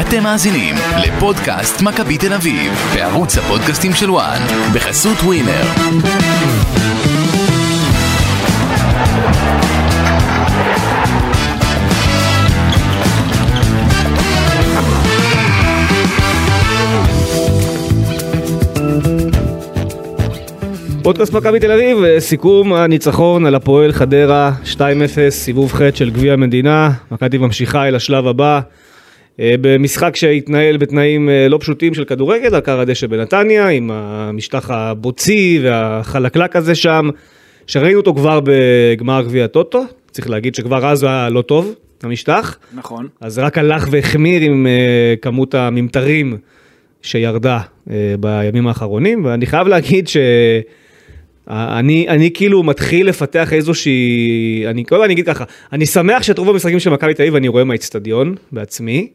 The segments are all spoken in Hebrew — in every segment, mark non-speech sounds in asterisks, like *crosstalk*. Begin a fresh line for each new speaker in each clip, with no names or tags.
אתם מאזינים לפודקאסט מכבי תל אביב, בערוץ הפודקאסטים של וואן, בחסות ווינר.
פודקאסט מכבי תל אביב, אה, סיכום הניצחון על הפועל חדרה 2-0, סיבוב ח' של גביע המדינה, מכבי ממשיכה אל השלב הבא, אה, במשחק שהתנהל בתנאים אה, לא פשוטים של כדורגל, על קר הדשא בנתניה, עם המשטח הבוצי והחלקלק הזה שם, שראינו אותו כבר בגמר גביע הטוטו, צריך להגיד שכבר אז הוא היה לא טוב, המשטח.
נכון.
אז רק הלך והחמיר עם אה, כמות הממטרים שירדה אה, בימים האחרונים, ואני חייב להגיד ש... אה, אני, אני כאילו מתחיל לפתח איזושהי, אני כל אני אגיד ככה, אני שמח שאת רוב המשחקים של מכבי תל אביב אני רואה מהאיצטדיון בעצמי,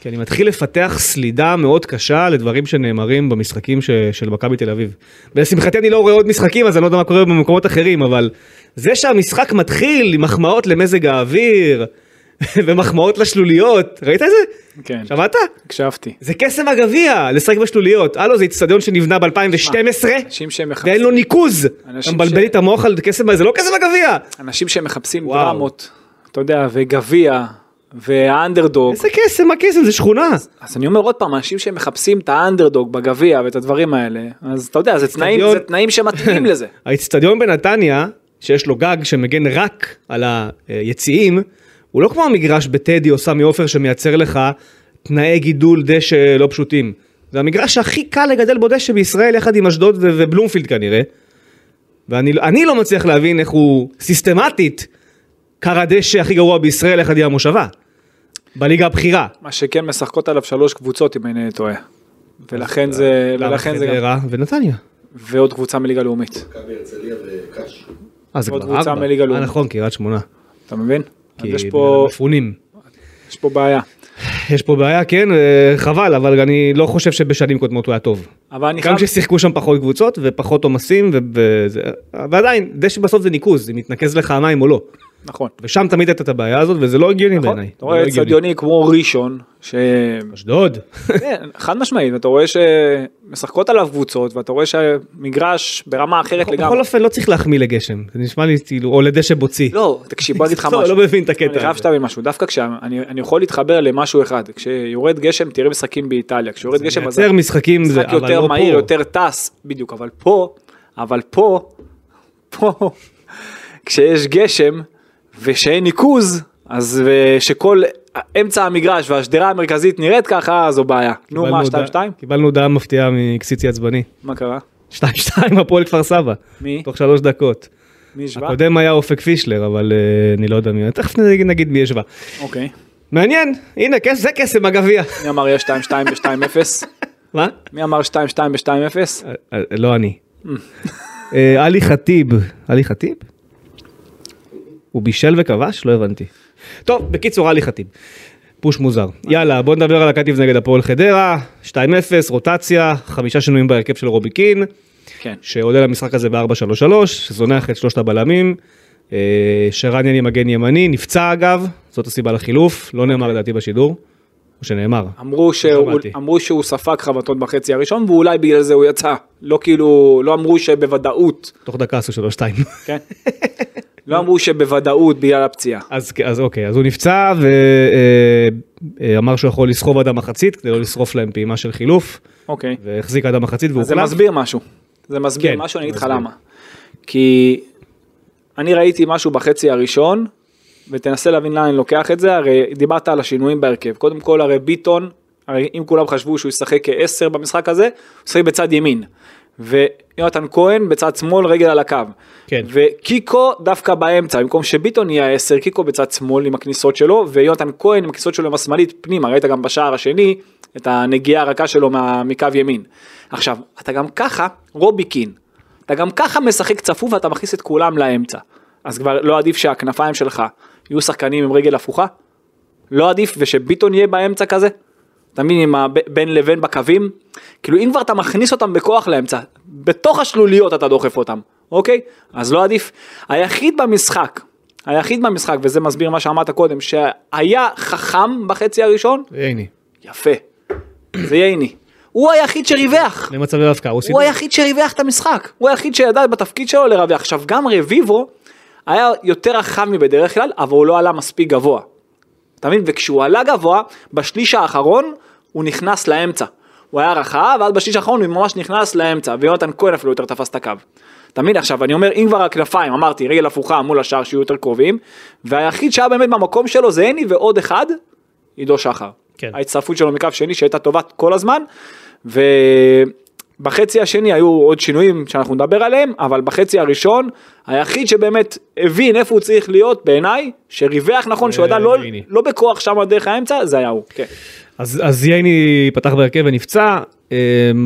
כי אני מתחיל לפתח סלידה מאוד קשה לדברים שנאמרים במשחקים ש, של מכבי תל אביב. ולשמחתי אני לא רואה עוד משחקים אז אני לא יודע מה קורה במקומות אחרים, אבל זה שהמשחק מתחיל עם מחמאות למזג האוויר *laughs* ומחמאות לשלוליות, ראית את זה?
כן.
שמעת?
הקשבתי.
זה קסם הגביע, לשחק בשלוליות. הלו, זה איצטדיון שנבנה ב-2012,
אנשים שמחפשים,
ואין לו ניקוז. אתה
אנשים
מבלבל
ש- אוקיי.
לי את המוח על קסם, זה לא קסם הגביע.
אנשים שמחפשים
וואו.
דרמות, אתה יודע, וגביע, והאנדרדוג.
איזה קסם, מה קסם? זה שכונה.
אז אני אומר עוד פעם, אנשים שמחפשים את האנדרדוג בגביע ואת הדברים האלה, אז אתה יודע, זה תנאים,
אצטדיון-
זה תנאים שמתאימים
*laughs*
לזה.
האיצטדיון בנתניה, שיש לו גג שמגן רק על היציעים, הוא לא כמו המגרש בטדי או סמי עופר שמייצר לך תנאי גידול דשא לא פשוטים. זה המגרש הכי קל לגדל בו דשא בישראל, יחד עם אשדוד ו- ובלומפילד כנראה. ואני לא- אני לא מצליח להבין איך הוא סיסטמטית קר הדשא הכי גרוע בישראל, יחד עם המושבה. בליגה הבכירה.
מה שכן משחקות עליו שלוש קבוצות אם אינני טועה. ולכן זה,
למה
ולכן זה גם,
חדרה ונתניה.
ועוד קבוצה מליגה לאומית,
מכבי הרצליה וקאש.
אה, זה
עוד
כבר
קבוצה
ארבע.
מליגה
אה,
לאומית.
נכון, קריית שמונה.
אתה מבין? אז
כי
יש פה,
מפונים.
יש פה בעיה.
יש פה בעיה, כן, אה, חבל, אבל אני לא חושב שבשנים קודמות הוא היה טוב.
אבל אני
גם
חייב,
כששיחקו שם פחות קבוצות ופחות עומסים, ו- וזה- ועדיין, דשא בסוף זה ניקוז, אם מתנקז לך המים או לא.
נכון.
ושם תמיד הייתה את הבעיה הזאת, וזה לא הגיוני
נכון?
בעיניי.
אתה רואה
זה לא הגיוני.
אצטדיוני כמו ראשון, ש...
אשדוד.
כן, חד משמעית, אתה רואה שמשחקות עליו קבוצות, ואתה רואה שהמגרש ברמה אחרת
בכל
*laughs* לגמרי.
אופן, לא צריך להחמיא לגשם, זה נשמע לי כאילו, או לדשא בוצי.
לא, תקשיב, בוא אני אגיד לך
לא,
משהו.
לא מבין את הקטע
אני חייב
הזה.
שתבין משהו, דווקא כשאני אני יכול להתחבר למשהו אחד, כשיורד גשם תראה משחקים באיטליה, כשיורד גשם אז
יותר משחקים, זה-
משחק
אבל
יותר
לא
מהיר,
פה.
יותר טס, בדיוק, אבל פה, אבל פה, פה, כשיש גשם ושאין ניקוז, אז שכל אמצע המגרש והשדרה המרכזית נראית ככה, אז זו בעיה. נו
קיבלנו
מה,
הודעה-
2-2?
קיבלנו הודעה מפתיעה מקסיצי עצבני. *laughs*
מה קרה?
2-2 הפועל כפר סבא.
מי?
תוך שלוש דקות.
מי השווה?
הקודם היה אופק פישלר, אבל אה, אני לא יודע מי, תכף נגיד- נגיד מי ישבה.
אוקיי.
מעניין, הנה, כס- זה קסם הגביע.
מי אמר יש 2-2 ב-2-0?
מה?
מי אמר 2-2 ב-2-0?
אה, אה, לא אני. אה, עלי חטיב, עלי חטיב? הוא בישל וכבש? לא הבנתי. טוב, בקיצור, עלי חטיב. פוש מוזר. יאללה, בוא נדבר על הקטיף נגד הפועל חדרה, 2-0, רוטציה, חמישה שינויים בהרכב של רובי קין,
כן.
שעולה למשחק הזה ב-4-3-3, שזונח את שלושת הבלמים, אה, שרן יני מגן ימני, נפצע אגב, זאת הסיבה לחילוף, לא נאמר לדעתי בשידור, או שנאמר.
אמרו שהוא,
שמעתי.
אמרו שהוא ספג חבטות בחצי הראשון ואולי בגלל זה הוא יצא. לא כאילו, לא אמרו שבוודאות,
תוך דקה עשו שלוש שתיים.
כן? לא אמרו שבוודאות בגלל הפציעה.
אז, אז אוקיי, אז הוא נפצע ואמר שהוא יכול לסחוב עד המחצית כדי לא לשרוף להם פעימה של חילוף,
אוקיי.
והחזיק עד המחצית והוא
אז זה מסביר משהו. זה מסביר
כן,
משהו, אני אגיד לך
מסביר.
למה. כי אני ראיתי משהו בחצי הראשון, ותנסה להבין לאן אני לוקח את זה, הרי דיברת על השינויים בהרכב. קודם כל, הרי ביטון, הרי אם כולם חשבו שהוא ישחק כעשר במשחק הזה, הוא ישחק בצד ימין. ויונתן כהן בצד שמאל, רגל על הקו.
כן.
וקיקו דווקא באמצע, במקום שביטון יהיה העשר, קיקו בצד שמאל עם הכניסות שלו, ויונתן כהן עם הכניסות שלו עם השמאלית פנימה, ראית גם בשער השני את הנגיעה הרכה שלו מה, מקו ימין. עכשיו, אתה גם ככה רובי קין, אתה גם ככה משחק צפוף ואתה מכניס את כולם לאמצע. אז כבר לא עדיף שהכנפיים שלך יהיו שחקנים עם רגל הפוכה? לא עדיף ושביטון יהיה באמצע כזה? אתה מבין עם הבין לבין בקווים? כאילו אם כבר אתה מכניס אותם בכוח לאמצע, בתוך השלוליות אתה דוחף אותם, אוקיי? אז לא עדיף. היחיד במשחק, היחיד במשחק, וזה מסביר מה שאמרת קודם, שהיה חכם בחצי הראשון,
הנה,
יפה. זה ייני. הוא היחיד שריווח.
למצבי דווקא, הוא
הוא
סידר.
היחיד שריווח את המשחק, הוא היחיד שידע בתפקיד שלו לרווח. עכשיו גם רביבו היה יותר רחב מבדרך כלל, אבל הוא לא עלה מספיק גבוה. אתה מבין? וכשהוא עלה גבוה, בשליש האחרון הוא נכנס לאמצע. הוא היה רחב, ואז בשליש האחרון הוא ממש נכנס לאמצע, ויונתן כהן אפילו יותר תפס את הקו. אתה מבין? עכשיו, אני אומר, אם כבר הכנפיים, אמרתי, רגל הפוכה מול השאר שיהיו יותר קרובים, והיחיד שהיה באמת במקום שלו זה הני ועוד אחד, עידו שחר.
כן.
ההצטרפות שלו מקו שני שהייתה טובה כל הזמן, ובחצי השני היו עוד שינויים שאנחנו נדבר עליהם, אבל בחצי הראשון, היחיד שבאמת הבין איפה הוא צריך להיות, בעיניי, שריווח נכון, שהוא
אה,
ידע לא,
הנה.
לא בכוח שם דרך האמצע, זה היה הוא. כן.
אז אז ייני פתח בהרכב ונפצע, אה,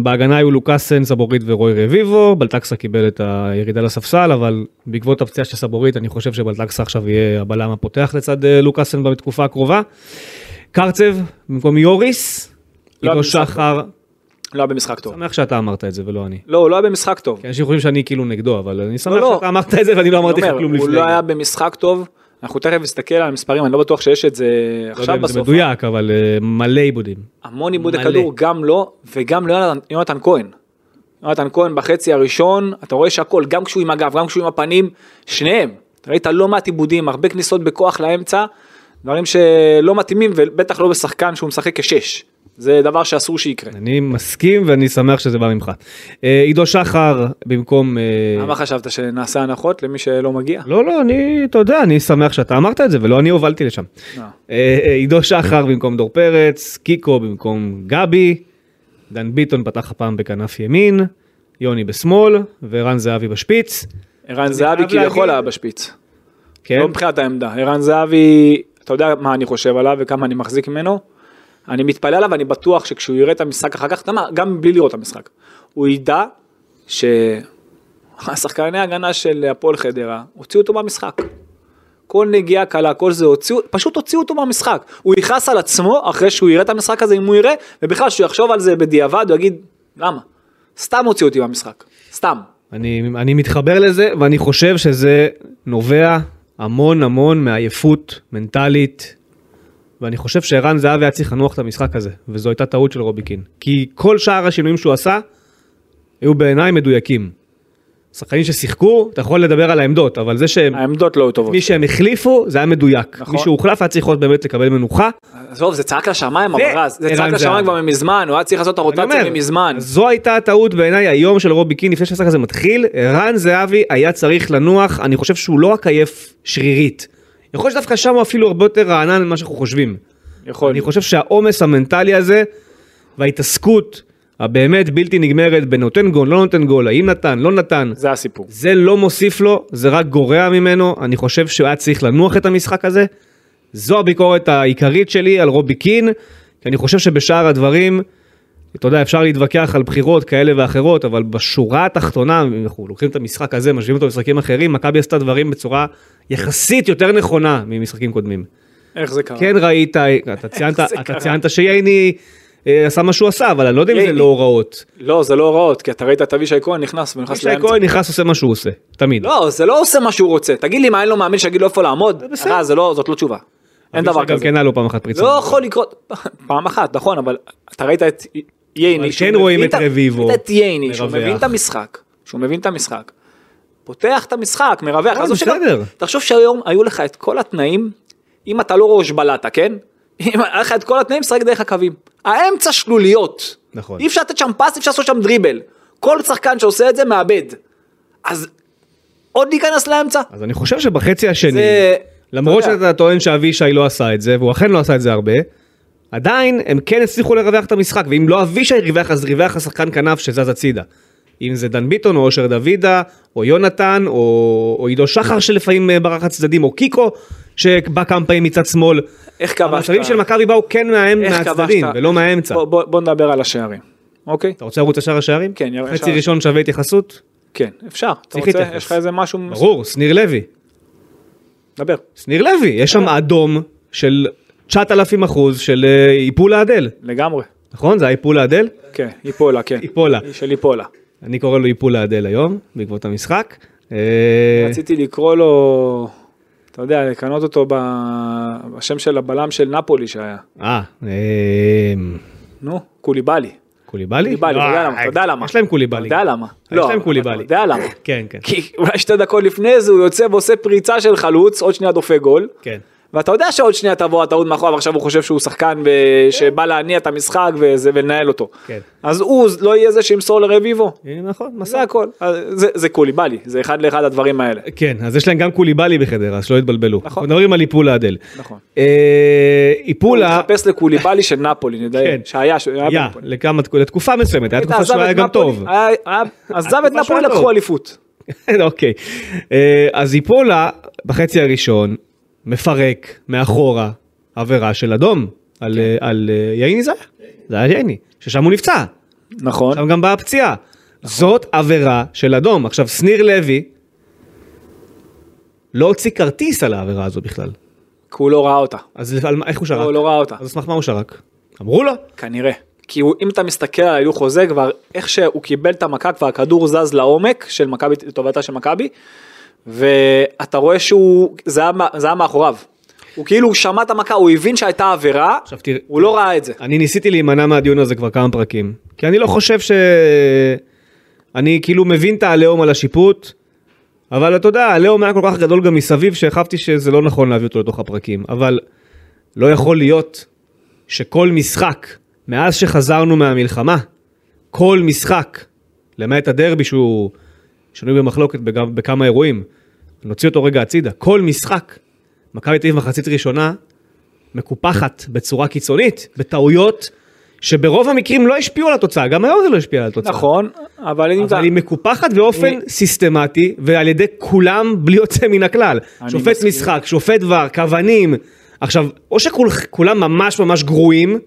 בהגנה היו לוקאסן, סבורית ורוי רביבו, בלטקסה קיבל את הירידה לספסל, אבל בעקבות הפציעה של סבורית אני חושב שבלטקסה עכשיו יהיה הבלם הפותח לצד אה, לוקאסן בתקופה הקרובה. קרצב במקום יוריס,
לא
עידו
במשחק.
שחר,
לא היה במשחק טוב.
שמח שאתה אמרת את זה ולא אני.
לא, הוא לא היה במשחק טוב.
כי אנשים חושבים שאני כאילו נגדו, אבל אני שמח
לא.
שאתה אמרת את זה ואני לא אמרתי לך
אני אומר,
כלום לפני.
הוא לא היה במשחק טוב, אנחנו תכף נסתכל על המספרים, אני לא בטוח שיש את זה
לא יודע
עכשיו
אם זה
בסוף.
מדויק, אבל אה, מלא עיבודים.
המון עיבוד
מלא.
הכדור גם לו וגם ליונתן יונתן כהן. יונתן כהן בחצי הראשון, אתה רואה שהכל, גם כשהוא עם הגב, גם כשהוא עם הפנים, שניהם. אתה ראית לא מעט עיבודים, הרבה כניסות בכוח לאמצע, דברים שלא מתאימים ובטח לא בשחקן שהוא משחק כשש. זה דבר שאסור שיקרה.
אני מסכים ואני שמח שזה בא ממך. אה, עידו שחר במקום... אה,
למה חשבת שנעשה הנחות למי שלא מגיע?
לא, לא, אני, אתה יודע, אני שמח שאתה אמרת את זה ולא אני הובלתי לשם.
אה.
אה, אה, עידו שחר במקום דור פרץ, קיקו במקום גבי, דן ביטון פתח הפעם בכנף ימין, יוני בשמאל ורן זהבי בשפיץ.
ערן זהבי
חייב
כביכול
להגיד-
היה בשפיץ.
כן,
לא מבחינת העמדה. ערן זהבי, אתה יודע מה אני חושב עליו וכמה אני מחזיק ממנו. אני מתפלא עליו, אני בטוח שכשהוא יראה את המשחק אחר כך, אתה יודע מה, גם בלי לראות את המשחק, הוא ידע שהשחקני ההגנה של הפועל חדרה, הוציאו אותו מהמשחק. כל נגיעה קלה, כל זה, הוציאו, פשוט הוציאו אותו מהמשחק. הוא יכעס על עצמו אחרי שהוא יראה את המשחק הזה, אם הוא יראה, ובכלל שהוא יחשוב על זה בדיעבד, הוא יגיד, למה? סתם הוציאו אותי מהמשחק. סתם.
אני, אני מתחבר לזה ואני חושב שזה נובע המון המון מעייפות מנטלית. ואני חושב שערן זהבי היה צריך לנוח את המשחק הזה, וזו הייתה טעות של רוביקין. כי כל שאר השינויים שהוא עשה, היו בעיניי מדויקים. שחקנים ששיחקו, אתה יכול לדבר על העמדות, אבל זה שהם,
העמדות לא היו טובות.
מי שהם החליפו, זה היה מדויק.
נכון.
מי שהוחלף היה צריך עוד באמת לקבל מנוחה.
עזוב, זה צעק לשמיים,
זה
אבל רז, זה צעק
ערן זהבי.
לשמיים כבר ממזמן, הוא היה צריך לעשות את
אני אומר,
הרוטציה ממזמן.
זו הייתה הטעות בעיניי היום של רוביקין, לפני שהשחק הזה מתחיל. ערן זהבי היה צריך לנוח, אני חושב שהוא לא רק עייף שרירית. יכול להיות שדווקא שם הוא אפילו הרבה יותר רענן ממה שאנחנו חושבים.
יכול.
אני חושב שהעומס המנטלי הזה וההתעסקות הבאמת בלתי נגמרת בנותן גול, לא נותן גול, האם נתן, לא נתן,
זה הסיפור.
זה לא מוסיף לו, זה רק גורע ממנו, אני חושב שהוא היה צריך לנוח את המשחק הזה. זו הביקורת העיקרית שלי על רובי קין, כי אני חושב שבשאר הדברים, אתה יודע, אפשר להתווכח על בחירות כאלה ואחרות, אבל בשורה התחתונה, אם אנחנו לוקחים את המשחק הזה, משווים אותו למשחקים אחרים, מכבי עשתה דברים בצורה יחסית יותר נכונה ממשחקים קודמים.
איך זה קרה?
כן ראית, אתה ציינת,
זה
אתה
קרה?
ציינת שייני אה, עשה מה שהוא עשה, אבל אני לא יודע אם זה
ייני.
לא הוראות.
לא, זה לא הוראות, כי אתה ראית את אבישי כהן נכנס ונכנס
שי
לאמצע.
כהן נכנס עושה מה שהוא עושה, תמיד.
לא, זה לא עושה מה שהוא רוצה. תגיד לי מה אין לו מאמן שיגיד לו איפה לעמוד?
בסדר.
אה, זה לא, זאת לא תשובה. אין דבר
גם
כזה.
כן היה לו פעם אחת פריצה.
לא יכול לקרות, פעם אחת, נכון, אבל אתה ראית את
אבל
ייני, שהוא
כן
מבין
רואים את
ה-
רביבו
ראית את ייני, שהוא
מרווח.
מבין את המשחק, שהוא מבין את המשחק, פותח את המשחק, מרווח,
אה,
עזוב שגם-
בסדר.
תחשוב שהיום היו לך את כל התנאים, אם אתה לא ראש בלטה, כן? *laughs* אם היה לך את כל התנאים, שחק דרך הקווים. האמצע שלוליות.
נכון.
אי אפשר לתת שם פס, אי אפשר לעשות שם דריבל. כל שחקן שעושה את זה מאבד. אז עוד להיכנס לאמצע?
אז אני חושב שבחצי השני,
זה-
למרות
אתה יודע.
שאתה טוען שאבישי לא עשה את זה, והוא אכן לא עשה את זה הרבה, עדיין הם כן הצליחו לרווח את המשחק, ואם לא אבישי ריווח, אז ריווח השחקן כנף שזז הצידה. אם זה דן ביטון, או אושר דוידה, או יונתן, או, או עידו שחר שלפעמים אה, ברח הצדדים, או קיקו, שבא כמה פעמים מצד שמאל.
איך כבשת?
המצבים של מכבי באו כן מה...
איך
מהצדדים,
כבשת?
ולא מהאמצע.
בוא- בוא בוא נדבר על השערים, אוקיי?
אתה רוצה לרוץ לשאר השערים?
כן, יאללה,
חצי
שער.
ראשון שווה התייחסות?
כן, אפשר. אתה
צריך
רוצה?
להתייחס.
יש לך איזה משהו?
ברור, שניר לוי.
דבר.
שניר לוי, יש שם
נכון.
אדום של 9,000 אחוז של אה, איפול האדל,
לגמרי.
נכון? זה היה איפול האדל?
כן, איפולה, כן.
איפולה.
של איפולה.
אני קורא לו איפול האדל היום, בעקבות המשחק. אה,
רציתי לקרוא לו אתה יודע, לקנות אותו ב- בשם של הבלם של נפולי שהיה.
אה, אמ,
נו, קוליבאלי.
קוליבאלי? אה,
קוליבאלי, אתה יודע למה, אתה יודע למה.
יש להם קוליבאלי.
אתה יודע למה. לא,
יש להם קוליבאלי.
אתה יודע למה.
כן, כן.
כי אולי שתי דקות לפני זה הוא יוצא ועושה פריצה של חלוץ, עוד שנייה דופק גול.
כן.
ואתה יודע שעוד שנייה תבוא הטעות מאחוריו, עכשיו הוא חושב שהוא שחקן ו- שבא להניע את המשחק וזה, ולנהל אותו.
כן.
אז הוא לא יהיה זה שימסור לרביבו.
אה, נכון,
זה
מסע.
הכל. אז זה- זה קוליבאלי, זה אחד לאחד הדברים האלה.
כן, אז יש להם גם קוליבאלי בחדרה, אז שלא יתבלבלו.
נכון.
אנחנו מדברים על איפולה אדל.
נכון.
אה, איפולה,
התחפש לקוליבאלי של נפולי, נדאי.
כן.
שהיה, שהיה
היה,
בנפולי.
לכמה, לתקופה מסוימת, הייתה
עזב
תקופה שהוא
את
היה גם
נפולי,
טוב.
היה- היה- עזב את
התקופה שהוא
נפולי,
היה
לקחו
טוב.
אליפות.
*laughs* אוקיי. אה, אז איפולה, בחצי הראשון, מפרק מאחורה עבירה של אדום
כן.
על, אה, על אה, ייני זה? היה? זה היה ייני, ששם הוא נפצע,
נכון.
שם גם באה הפציעה. זאת עבירה של אדום. עכשיו, שניר לוי לא הוציא כרטיס על העבירה הזו בכלל.
כי הוא לא ראה אותה.
אז על מה- איך הוא שרק?
הוא לא ראה אותה.
אז על סמך מה הוא שרק? אמרו לו.
כנראה. כי הוא, אם אתה מסתכל על הילוך חוזה כבר איך שהוא קיבל את המכה כבר הכדור זז לעומק של מכבי לטובתה של מכבי ואתה רואה שהוא זה היה, מה- זה היה מאחוריו. הוא כאילו הוא שמע את המכה הוא הבין שהייתה עבירה
עכשיו תראה-
הוא לא ראה את זה.
אני ניסיתי להימנע מהדיון הזה כבר כמה פרקים, כי אני לא חושב ש... אני כאילו מבין את העליהום על השיפוט, אבל אתה יודע, העליהום היה כל כך גדול גם מסביב, שהחשבתי שזה לא נכון להביא אותו לתוך הפרקים, אבל לא יכול להיות שכל משחק, מאז שחזרנו מהמלחמה, כל משחק, למעט הדרבי שהוא שנוי במחלוקת בג- בכמה אירועים, נוציא אותו רגע הצידה, כל משחק, מכבי תל אביב מחצית ראשונה, מקופחת בצורה קיצונית, בטעויות שברוב המקרים לא השפיעו על התוצאה, גם היום זה לא השפיע על התוצאה.
נכון אבל אם אתה
אבל היא מקופחת באופן סיסטמטי ועל ידי כולם בלי יוצא מן הכלל.
אני
שופט
מסכים.
משחק, שופט ור, כוונים. עכשיו, או שכולם ממש ממש גרועים,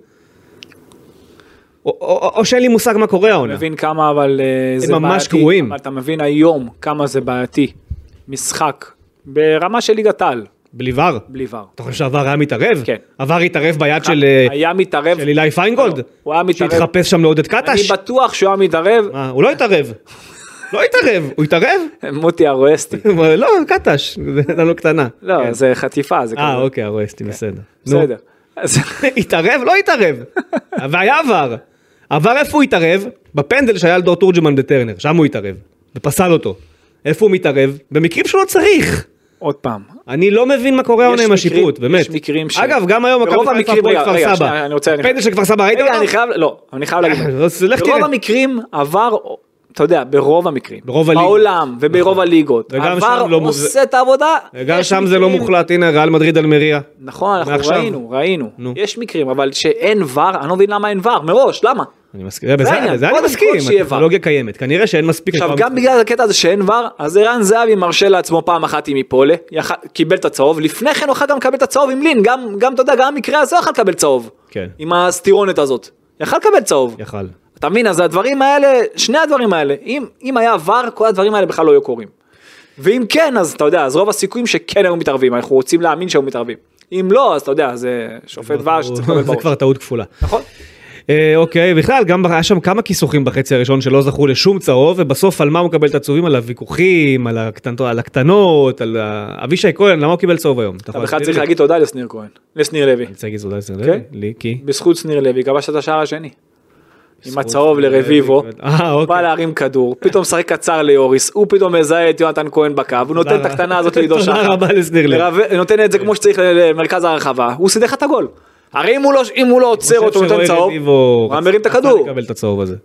או- או או שאין לי מושג מה קורה העונה.
מבין כמה אבל אה, זה
ממש
בעייתי,
גרועים.
אבל אתה מבין היום כמה זה בעייתי. משחק ברמה של ליגת על
בלי ור.
בלי ור.
אתה חושב שהוור היה מתערב?
כן.
הוור התערב ביד של אה,
היה מתערב.
של אילי
לא,
פיינגולד?
הוא היה מתערב.
שהתחפש שם לעודד
אני
קטש?
בטוח שהוא היה מתערב
מה, הוא לא התערב. לא התערב, הוא התערב?
מוטי ארואסטי.
הוא אמר, לא, קטש, זה הייתה לו קטנה.
לא זה חטיפה זה
כן. אה,
כזה.
אוקיי, הרואסטי, בסדר. נו.
בסדר. אז-
*laughs* התערב? לא התערב. והיה עבר. עבר איפה הוא התערב? בפנדל שהיה על דור תורג'מן בטרנר, שם הוא התערב. ופסל אותו. איפה הוא מתערב? במקרים שלא צריך.
עוד פעם.
אני לא מבין מה קורה העונה עם
מקרים-
השיפוט, באמת.
יש מקרים ש-
אגב, גם היום
ברוב
מכבי חיפה
המקרים-
פה
רגע, רגע,
כפר
שנייה,
סבא.
אני רוצה- אני-
פנדל של כפר סבא, ראית
רגע,
אותו?
אני חייב, לא, אני חייב להגיד.
*laughs* אז לך
ברוב
תראה.
המקרים עבר, אתה יודע, ברוב המקרים.
ברוב הליגות. נכון.
בעולם וברוב הליגות.
וגם
עבר
שם לא מוב-
עושה את העבודה.
גם
יש
שם זה לא
מקרים-
מוחלט, הנה, ריאל מדריד אלמריה.
נכון, אנחנו
מעכשיו.
ראינו, ראינו.
נו.
יש מקרים, אבל שאין ור, אני לא מבין למה אין ור, מראש, למה?
אני מסכים, אה, בזה-
העניין,
זה אני
קודם
מסכים,
כל שיהיה ור.
הטכנולוגיה קיימת. כנראה שאין מספיק...
עכשיו
לכל
גם
המשחק.
בגלל הקטע הזה שאין ור, אז ערן זהבי מרשה לעצמו פעם אחת עם איפולה, יכל- קיבל את הצהוב, לפני כן הוא יכול גם לקבל את הצהוב עם לין, גם, גם, אתה יודע, גם המקרה הזה הוא יכול לקבל צהוב.
כן.
עם הסטירונת הזאת. יכל לקבל צהוב.
יכל.
אתה מבין? אז הדברים האלה, שני הדברים האלה, אם, אם היה ור, כל הדברים האלה בכלל לא היו קורים. ואם כן, אז אתה יודע, אז רוב הסיכויים שכן היו מתערבים, אנחנו רוצים להאמין שהיו מתערבים. אם לא, אז אתה יודע, זה שופט ור שצריך לקבל
לא, *laughs* זה
בראש.
כבר טעות כפולה.
נכון?
אה, אוקיי, בכלל, גם היה שם כמה כיסוחים בחצי הראשון שלא זכו לשום צהוב, ובסוף על מה הוא מקבל את הצהובים? על הוויכוחים, על, הקטנ... על הקטנות, על ה... אבישי כהן, למה הוא קיבל צהוב היום?
אתה בכלל צריך להגיד תודה לשניר כהן, לשניר לוי.
אני רוצה להגיד תודה לזה,
כן.
לי, כי...
בזכות שניר לוי כבש את השער השני. עם
בזכות
הצהוב
שניר לוי,
לרביבו,
אה, אוקיי.
בא להרים כדור, פתאום משחק קצר ליוריס, הוא פתאום מזהה את יונתן כהן בקו, הוא נותן את
רבה.
הקטנה
*laughs*
הזאת לעידו
תודה
שחר.
רבה לשניר לוי.
לרב- נותן את זה כמו שצריך ל- למרכז הרחבה, הוא סידר לך את הגול. הרי אם הוא לא- אם הוא לא עוצר אותו, נותן צהוב, הוא היה מרים את הכדור.
לקבל את הצהוב
*laughs*
הזה.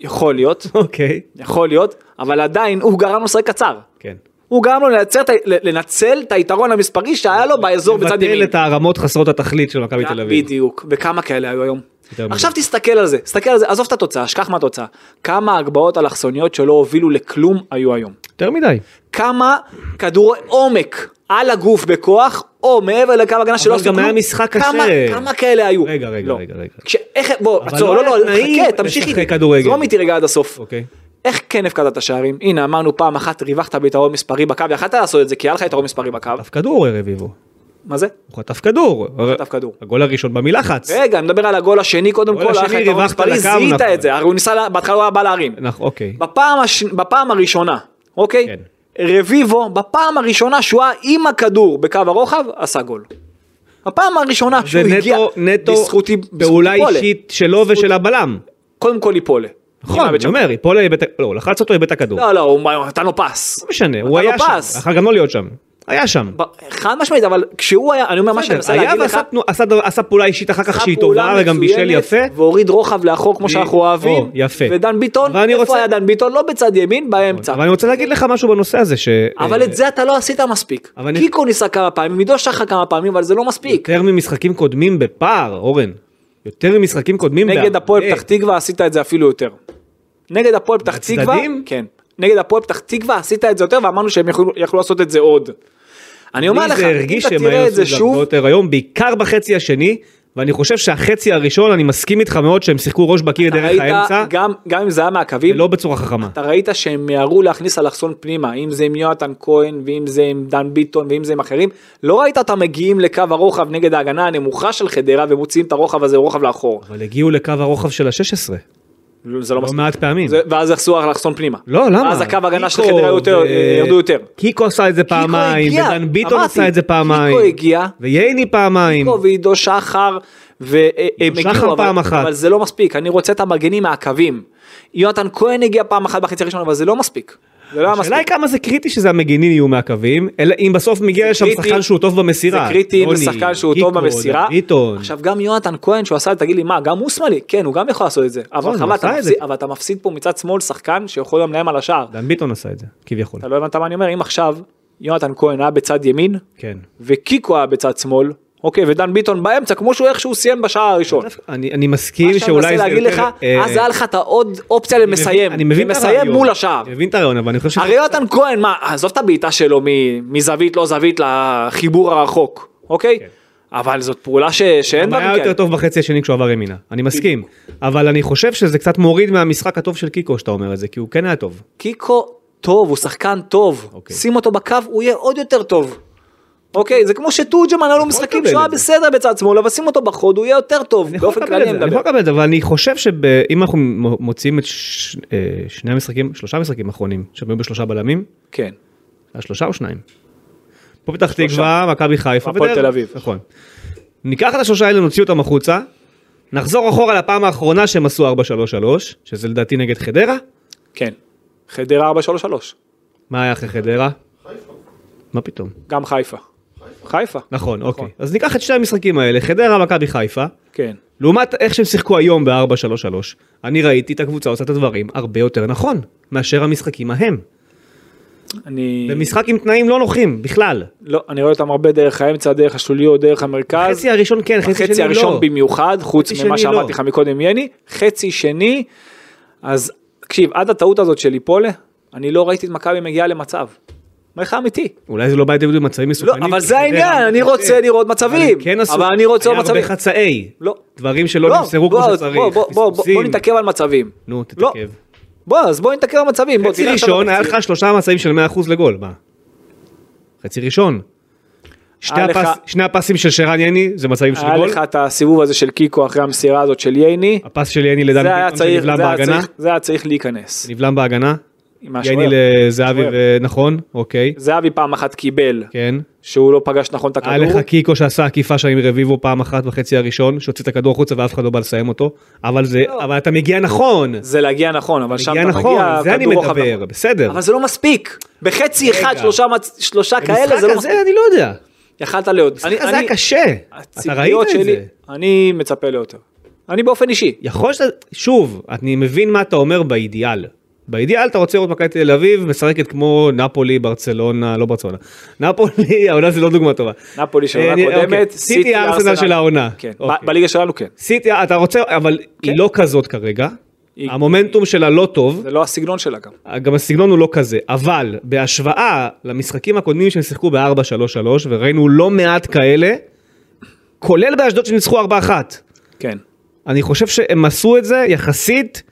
יכול להיות,
אוקיי.
יכול להיות, אבל עדיין הוא גרם לו לשחק קצר.
כן.
הוא גרם לו לייצר את ה- לנצל את היתרון המספרי שהיה לו באזור בצד
לבטל
ימין. אה,
את הערמות חסרות התכלית של מכבי תל אביב.
בדיוק, וכמה כאלה היו היום.
יותר מדי.
עכשיו תסתכל על זה, תסתכל על זה, עזוב את התוצאה, שכח מהתוצאה. כמה הגבהות אלכסוניות שלא הובילו לכלום היו היום.
יותר מדי.
כמה כדורי עומק על הגוף בכוח, או מעבר לקו הגנה שלא
אבל
עשו
גם
כלום.
היה משחק קשה.
כמה, כמה כאלה היו?
רגע, רגע,
לא.
רגע, רגע.
כש- איך, בוא,
אבל
עצור,
לא
לא, לא,
היה נעים
חכה, תמשיך
לשחק
איתי.
כדורגל.
זרום איתי רגע עד הסוף.
אוקיי.
איך כן הפקדת את השערים? הנה, אמרנו פעם אחת ריווחת ביתרון מספרי בקו, יכלת לעשות את זה, כי היה לך יתרון מספרי בקו.
חטף כדור רביבו.
מה זה?
הוא חטף כדור.
חטף כדור. אה.
הגול הראשון במלחץ.
רגע, אני מדבר על הגול השני קודם
הגול
כל, היה לך
השני,
יתרון
ריווחת
מספרי,
לקו,
זיהית
נכון.
את זה, הרי הוא ניסה, לה- בהתחלה הוא היה בא להרים.
נכון, אוקיי.
בפעם, הש... בפעם הראשונה, אוקיי?
כן.
רביבו, בפעם הראשונה שהוא היה עם הכדור בקו הרוחב, עשה גול. הפעם הראשונה שהוא
זה
הגיע,
נטו, נטו
בזכות- בזכות
פעולה
איפולה.
אישית שלו
בזכות-
ושל הבלם.
קודם כל איפולה.
נכון, אני אומר, היפול איבד, לא, הוא לחץ אותו, איבד את הכדור. לא
לא, לא, הוא נתן לו פס.
משנה,
נתן
הוא
לו
היה
פס.
שם, יכול גם לא להיות שם. היה שם.
ב- חד משמעית, אבל כשהוא היה, אני אומר מה שאני מנסה
היה
להגיד לך,
ועשה תנו- עשה דבר- עשה פעולה אישית אחר כך
עשה
שהיא
פעולה
טובה וגם בישל
מצוינת,
יפה.
והוריד רוחב לאחור כמו
ב-
שאנחנו אוהבים.
או, יפה.
ודן ביטון,
אבל אני
איפה
רוצה-
היה דן ביטון? לא בצד ימין, באמצע.
אבל אני רוצה להגיד לך משהו בנושא הזה, ש...
אבל
אה,
את זה אתה לא עשית מספיק.
אבל אני-
קיקו ניסה כמה פעמים, עידו שחר כמה פעמים, אבל זה לא מספיק.
יותר ממשחקים קודמים בפער, אורן. יותר ממשחקים קודמים
נגד
בהרבה.
הפועל פתח תקווה עשית את זה אפילו יותר. נגד הפועל פתח תקווה,
בצדדים?
כן. נגד הפועל פתח תקווה עשית את זה יותר ואמרנו שהם יכלו יכלו לעשות את זה עוד. אני אומר
לי
לך,
זה
אם
הרגיש
אתה
שהם
תראה
היו
את זה
עושים את זה הרבה
שוב,
יותר היום, בעיקר בחצי השני, ואני חושב שהחצי הראשון, אני מסכים איתך מאוד שהם שיחקו ראש בקיר
אתה
דרך
ראית,
האמצע,
גם גם אם זה היה מהקווים,
ולא בצורה חכמה.
אתה ראית שהם מיהרו להכניס אלכסון פנימה, אם זה עם יונתן כהן, ואם זה עם דן ביטון, ואם זה עם אחרים, לא ראית אותם מגיעים לקו הרוחב נגד ההגנה הנמוכה של חדרה ומוציאים את הרוחב הזה רוחב לאחור.
אבל הגיעו לקו הרוחב של ה-16,
זה לא
לא
מספיק.
מעט פעמים.
זה- ואז יחסו אלכסון פנימה.
לא, למה?
ואז הקו ההגנה של
קיקו
חדרה יותר, אה,
ו-
ירדו יותר.
קיקו עשה את זה פעמיים,
הגיע,
ודן ביטון
אמרתי,
עשה את זה פעמיים.
קיקו הגיע.
וייני פעמיים.
קיקו ועידו שחר, והם
שחר פעם אחת.
אבל זה לא מספיק, אני רוצה את המגנים מהקווים. יונתן כהן הגיע פעם אחת בחצי הראשון, אבל זה לא מספיק. זה לא היה
השאלה
מספיק.
היא כמה זה קריטי שזה המגינים יהיו מהקווים, אלא אם בסוף מגיע לשם
קריטי-
שחקן שהוא טוב
זה
במסירה.
קריטי אם
רוני,
זה שחקן שהוא
קיקו,
טוב במסירה.
ביטון.
עכשיו גם יונתן כהן שהוא עשה, תגיד לי מה, גם הוא שמאלי? כן, הוא גם יכול לעשות את זה. אבל
נכון, הוא
חבל, אתה
עשה את זה.
מפסיד- אבל אתה מפסיד פה מצד שמאל שחקן שיכול גם להם על השער.
דן ביטון עשה את זה, כביכול.
אתה לא הבנת מה אני אומר, אם עכשיו יונתן כהן היה בצד ימין,
כן.
וקיקו היה בצד שמאל, אוקיי, ודן ביטון באמצע, כמו שהוא איך שהוא סיים בשער הראשון.
אני אני
מה
מסכים
שאני מנסה
שאולי זה
להגיד
יותר...
לך,
אה,
אז היה לך את העוד אופציה
אני מבין-
למסיים,
אני מבין את
למסיים
הרעיון.
מול השער.
אני מבין את הרעיון, אבל אני חושב
הרי יונתן כהן, מה, עזוב את הבעיטה שלו מ- מזווית לא זווית לחיבור הרחוק, אוקיי? אבל זאת פעולה ש- שאין
הוא
בה...
כן. היה
מכאן.
יותר טוב בחצי השני כשהוא עבר ימינה, אני מסכים. אבל אני חושב שזה קצת מוריד מהמשחק הטוב של קיקו שאתה אומר את זה, כי הוא כן היה טוב.
קיקו טוב, הוא שחקן טוב.
אוקיי.
שים אותו בקו, הוא יהיה עוד יותר טוב. אוקיי, זה כמו שטורג'מן היה לו משחקים
לקבל
שהוא היה
את זה.
בסדר בצד שמאל, אבל שים אותו בחוד, הוא יהיה יותר טוב.
אני יכול
באופן
לקבל את
כללי אני
זה, אני
מדבר.
יכול לקבל את זה, אבל אני חושב שאם אנחנו מ- מוציאים את ש- אה, שני המשחקים, שלושה משחקים האחרונים, שהם היו בשלושה בלמים,
כן.
היה שלושה או שניים? פה פתח תקווה, מכבי חיפה,
והפועל
ודרבי.
תל אביב.
נכון. ניקח את השלושה האלה, נוציא אותם החוצה, נחזור אחורה לפעם האחרונה שהם עשו 4-3-3, שזה לדעתי נגד חדרה.
כן. חדרה 433,
מה היה אחרי חדרה? מה פתאום?
גם חיפה. חיפה.
נכון, אוקיי. אז ניקח את שני המשחקים האלה, חדרה, מכבי חיפה,
כן.
לעומת איך שהם שיחקו היום ב-4-3-3, אני ראיתי את הקבוצה עושה את הדברים הרבה יותר נכון, מאשר המשחקים ההם.
אני...
זה משחק עם תנאים לא נוחים, בכלל.
לא, אני רואה אותם הרבה דרך האמצע, דרך השוליות, דרך המרכז.
חצי הראשון כן, חצי
החצי
השני
הראשון
לא.
במיוחד, חוץ
חצי
ממה
שני לא.
שאמרתי לך מקודם יני, חצי שני, אז תקשיב, עד הטעות הזאת של ליפולה, אני לא ראיתי את מכבי מגיעה למצב. אומר לך אמיתי.
אולי זה לא בא לידי ביטוי במצבים
לא,
מסוכנים.
אבל
כי
זה
חדרה-
העניין, אני רוצה לראות מצבים.
כן עשו,
אבל אני רוצה
היה
לראות מצבים.
הרבה חצאי.
לא.
דברים שלא
לא,
נמסרו
בוא,
כמו שצריך.
בוא, בוא, בוא, בוא,
פספוסים.
בוא נתעכב על מצבים.
נו,
לא.
תתעכב.
בוא, אז בוא נתעכב על מצבים. בוא,
חצי
תראה עכשיו
ראשון היה
בתקציר.
לך שלושה מצבים של 100% לגול, מה? חצי ראשון. שני
היה לך-
הפס- שני הפסים של שרן יני זה מצבים של
היה
גול.
לך את הסיבוב הזה של קיקו אחרי המסירה הזאת של ייני.
הפס של יני לדן
זה היה
ביטון
צריך,
שנבלם
זה היה
בהגנה.
צריך- זה היה צריך להיכנס.
נבלם בהגנה.
עם השוער.
יני לזהבי
שוער.
ונכון, אוקיי.
זהבי פעם אחת קיבל,
כן.
שהוא לא פגש נכון את
היה
הכדור.
לך קיקו שעשה עקיפה שם עם רביבו פעם אחת בחצי הראשון, שהוציא את הכדור החוצה ואף אחד לא בא לסיים אותו. אבל זה,
לא.
אבל אתה מגיע נכון.
זה להגיע נכון, אבל שם
מגיע
אתה
נכון,
מגיע,
זה אני
כדור רוחב
מדבר,
נכון.
בסדר.
אבל זה לא מספיק. בחצי אחד, שלושה מצ- שלושה כאלה,
המשחק
זה לא מספיק.
הזה אני לא יודע.
יכלת לעוד.
המשחק הזה היה קשה. אתה ראית
הציפיות
את
שלי-
זה.
אני מצפה ליותר. אני באופן אישי.
יכול שאתה, שוב, אני מבין מה אתה אומר באידיאל. באידיאל אתה רוצה לראות מכבי תל אביב משחקת כמו נפולי, ברצלונה, לא ברצלונה. נפולי, *laughs* העונה זה לא דוגמה טובה.
נפולי של העונה
אני- אוקיי.
הקודמת,
סיטי הארסנל של העונה.
כן, ב-
אוקיי.
בליגה שלנו כן.
סיטי, אתה רוצה, אבל היא לא כזאת כרגע.
היא-
המומנטום שלה לא טוב,
זה לא הסגנון שלה גם.
גם הסגנון הוא לא כזה, אבל בהשוואה למשחקים הקודמים שהם שיחקו ב-4-3-3, וראינו לא מעט כאלה, כולל באשדוד שניצחו 4-1.
כן.
אני חושב שהם עשו את זה יחסית